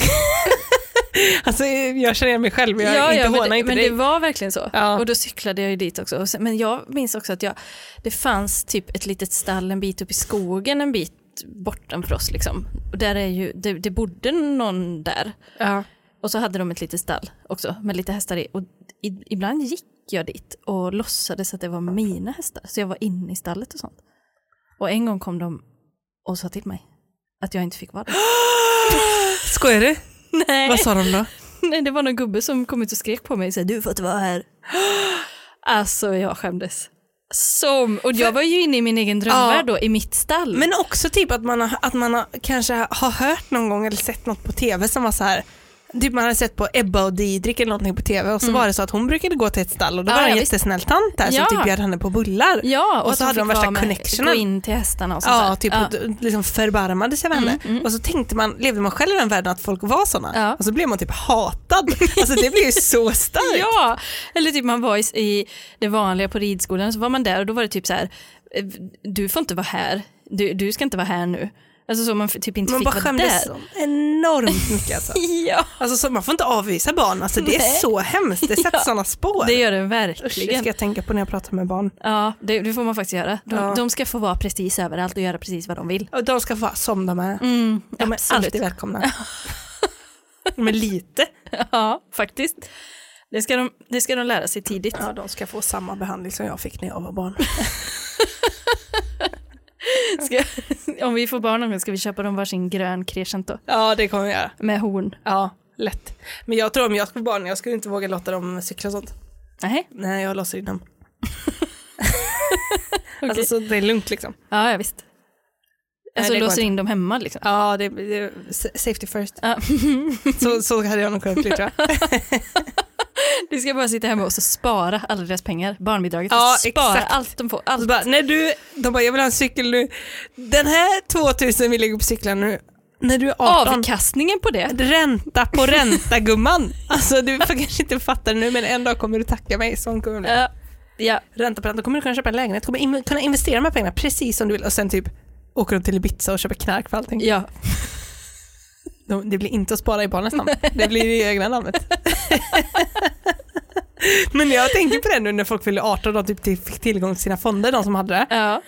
S2: alltså jag känner igen mig själv, jag inte
S1: men,
S2: hånar
S1: det,
S2: inte
S1: men
S2: dig.
S1: det var verkligen så.
S2: Ja.
S1: Och då cyklade jag ju dit också. Och sen- Men jag minns också att jag, det fanns typ ett litet stall en bit upp i skogen en bit bortanför oss. Liksom. Och där är ju, det, det bodde någon där.
S2: Ja.
S1: Och så hade de ett litet stall också med lite hästar i. Och i, ibland gick jag dit och låtsades att det var mina hästar. Så jag var inne i stallet och sånt. Och en gång kom de och sa till mig att jag inte fick vara där.
S2: Skojar du?
S1: Nej.
S2: Vad sa de då?
S1: Nej, det var någon gubbe som kom ut och skrek på mig och sa du får inte vara här. alltså jag skämdes. Som, och jag var ju inne i min egen drömvärld då, i mitt stall.
S2: Men också typ att man, har, att man har, kanske har hört någon gång eller sett något på tv som var så här Typ man hade sett på Ebba och Didrik eller någonting på tv och så var det så att hon brukade gå till ett stall och då
S1: Ja,
S2: var det en
S1: ja, visst.
S2: jättesnäll tant där
S1: Ja.
S2: som typ bjöd henne på bullar.
S1: ja,
S2: och, så Alltså, hade de
S1: fick
S2: värsta
S1: vara med-
S2: connectionen.
S1: Gå in till hästarna och sånt
S2: Ja, Mm,
S1: där.
S2: typ och d- liksom förbarmade sig över henne. Och så tänkte man, levde man själv i den världen att folk var sådana?
S1: Ja.
S2: Och så blev man typ hatad. Alltså det blev ju så starkt.
S1: Ja, eller typ man var i, i det vanliga på ridskolan så var man där och då var det typ så här, eh, du får inte vara här, du, du ska inte vara här nu. Alltså så man f- typ inte
S2: Man
S1: fick
S2: bara
S1: vara där.
S2: skämdes så enormt mycket alltså.
S1: Ja,
S2: alltså så man får inte avvisa barn, alltså det är
S1: Nej.
S2: så hemskt. Det sätter
S1: Ja.
S2: sådana spår.
S1: det gör det
S2: Usch, det
S1: verkligen.
S2: ska jag tänka på när jag pratar med barn.
S1: Ja, det, det får man faktiskt göra. De,
S2: Ja.
S1: de ska få vara precis överallt och göra precis vad de vill.
S2: Och de ska få vara som de är.
S1: Mm,
S2: de är
S1: absolut.
S2: alltid välkomna. Men lite.
S1: Ja, faktiskt. Det ska, de, det ska de lära sig tidigt.
S2: Ja, de ska få samma behandling som jag fick när jag var barn.
S1: Ska, om vi får barn någon gång ska vi köpa dem varsin grön crescent då,
S2: Ja, det kommer jag göra.
S1: med horn.
S2: Ja, lätt. Men jag tror om jag skulle vara barn, jag skulle inte våga låta dem cykla och sånt.
S1: Nej,
S2: Nej, jag låser in dem.
S1: okej.
S2: Alltså så det är lugnt liksom.
S1: ja, ja, visst. Alltså
S2: det går
S1: låser
S2: inte.
S1: in dem hemma liksom.
S2: Ja, det, det, sa- safety first.
S1: Ja.
S2: så, så hade jag nog kunnat bli tror jag.
S1: Du ska bara sitta hemma och så spara alla deras pengar, barnbidraget.
S2: Ja,
S1: spara
S2: exakt.
S1: allt de får.
S2: Så
S1: Allt.
S2: bara, när du, de bara, jag vill ha en cykel nu. Den här 2000 vi lägger på cyklarna nu. När du är 18,
S1: Avkastningen på det.
S2: ränta på ränta gumman. Alltså du får kanske inte fatta det nu men en dag kommer du tacka mig. Sån kommer jag bli.
S1: Ja, ja.
S2: Ränta på ränta, kommer du kunna köpa en lägenhet, kommer in, kunna investera de här pengarna precis som du vill och sen typ åker de till Ibiza och köper knark för allting.
S1: ja.
S2: De, det blir inte att spara i barnens namn, det blir i egna namnet. Men jag tänker på det nu när folk fyllde 18 och de typ till- fick tillgång till sina fonder, de som hade det.
S1: ja.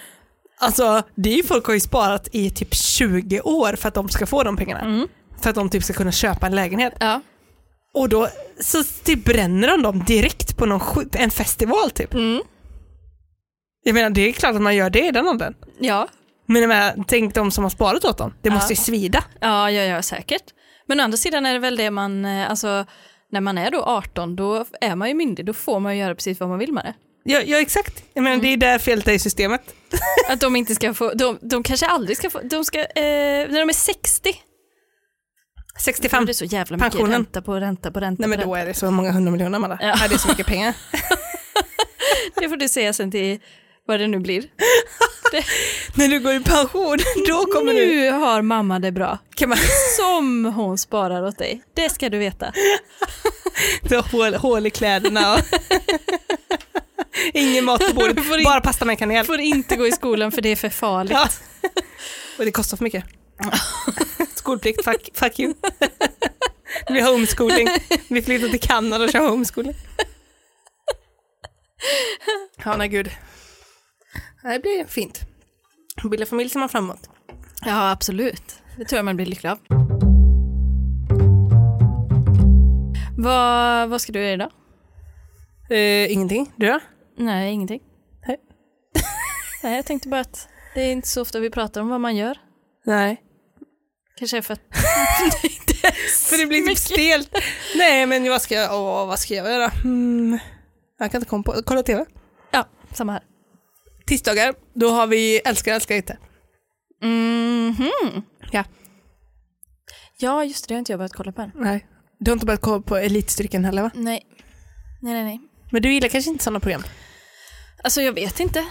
S2: Alltså, det är ju folk har ju sparat i typ 20 år för att de ska få de pengarna. För att de typ ska kunna köpa en lägenhet.
S1: ja.
S2: Och då så typ bränner de dem direkt på någon, sjuk- en festival typ. Jag menar det är klart att man gör det i den åldern.
S1: Ja,
S2: Men jag menar, tänk de som har sparat åt dem. Det måste ju svida.
S1: Ja, ja, ja, säkert. Men å andra sidan är det väl det man, eh, alltså när man är då 18, då är man ju myndig, då får man ju göra precis vad man vill med det.
S2: Ja, ja exakt. Jag menar, Det är där felet är i systemet.
S1: Att de inte ska få, de, de kanske aldrig ska få, de ska, eh, när de är 60,
S2: 65.
S1: då är
S2: Mm.
S1: det så jävla mycket
S2: Pensionen.
S1: ränta på ränta på ränta.
S2: Nej men
S1: på
S2: då
S1: ränta.
S2: är det så många hundra miljoner Amanda.
S1: Ja.
S2: Ja. Det är så mycket pengar.
S1: Det får du säga sen till vad det nu blir.
S2: När du går i pension, då kommer du...
S1: Nu har mamma det bra,
S2: Kan man,
S1: som hon sparar åt dig. Det ska du veta.
S2: du har hål, hål i kläderna och... Ingen mat på bordet,
S1: Får in-
S2: bara pasta med kanel.
S1: Får inte gå i skolan för det är för farligt.
S2: Ja. Och det kostar för mycket. Skolplikt, fuck, fuck you. Det blir homeschooling. Vi flyttar till Kanada och kör homeschooling. Ja, nej gud. Det blir fint. Bilda familj ser man framåt.
S1: Ja, absolut. Det tror jag man blir lycklig av. Vad, vad ska du göra idag?
S2: Eh, ingenting. Du då?
S1: Nej, ingenting.
S2: Nej.
S1: Nej, jag tänkte bara att det är inte så ofta vi pratar om vad man gör.
S2: Nej.
S1: Kanske är för att...
S2: För det blir typ stelt. Nej, men vad ska jag, åh, vad ska jag göra? Mm, jag kan inte komma på. Kolla TV.
S1: Ja, samma här.
S2: Tisdagar, då har vi älskar, älskar inte.
S1: Mhm.
S2: Ja.
S1: Ja, just det. Det har inte jag börjat kolla på än.
S2: Nej. Du har inte börjat kolla på Elitstyrkan heller va?
S1: Nej. Nej, nej, nej.
S2: Men du gillar kanske inte sådana program?
S1: Alltså, jag vet inte.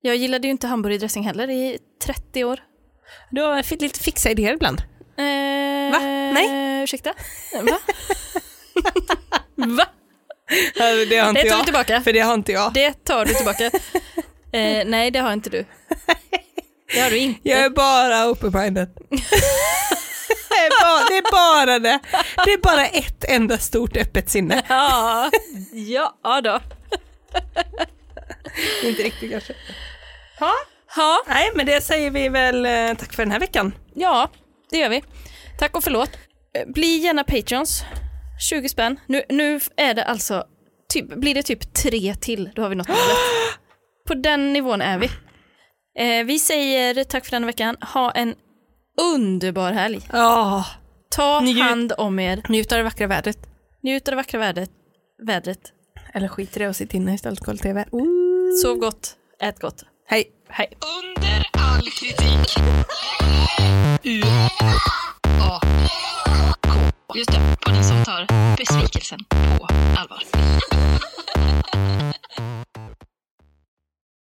S1: Jag gillade ju inte hamburgardressing heller i 30 år.
S2: Du har fi- lite fixa idéer ibland.
S1: Eh,
S2: Va? Nej.
S1: Ursäkta? Va? Va?
S2: Det har
S1: Det
S2: inte
S1: tar vi
S2: jag.
S1: tillbaka.
S2: För det har inte jag.
S1: Det tar du tillbaka. eh, nej, det har inte du. Det har du inte.
S2: Jag är bara open-minded. det, är bara, det är bara det. Det är bara ett enda stort öppet sinne.
S1: Ja, ja då.
S2: inte riktigt kanske.
S1: Ja,
S2: Nej, men det säger vi väl eh, tack för den här veckan.
S1: ja, det gör vi. Tack och förlåt. Eh, Bli gärna patrons. 20 spänn. Nu, nu är det alltså, typ, blir det typ tre till, då har vi nått målet. På den nivån är vi. Eh, vi säger tack för den här veckan. Ha en underbar helg.
S2: Ja,
S1: Ta
S2: Njut.
S1: hand om er.
S2: njut av det vackra vädret.
S1: Njut av det vackra vädret. vädret.
S2: Eller skit i det och sitt inne istället och kolla TV. Oh.
S1: Sov gott, ät gott.
S2: Hej.
S1: Hej.
S3: Under all kritik. U A K. Just det, podden som tar besvikelsen på allvar.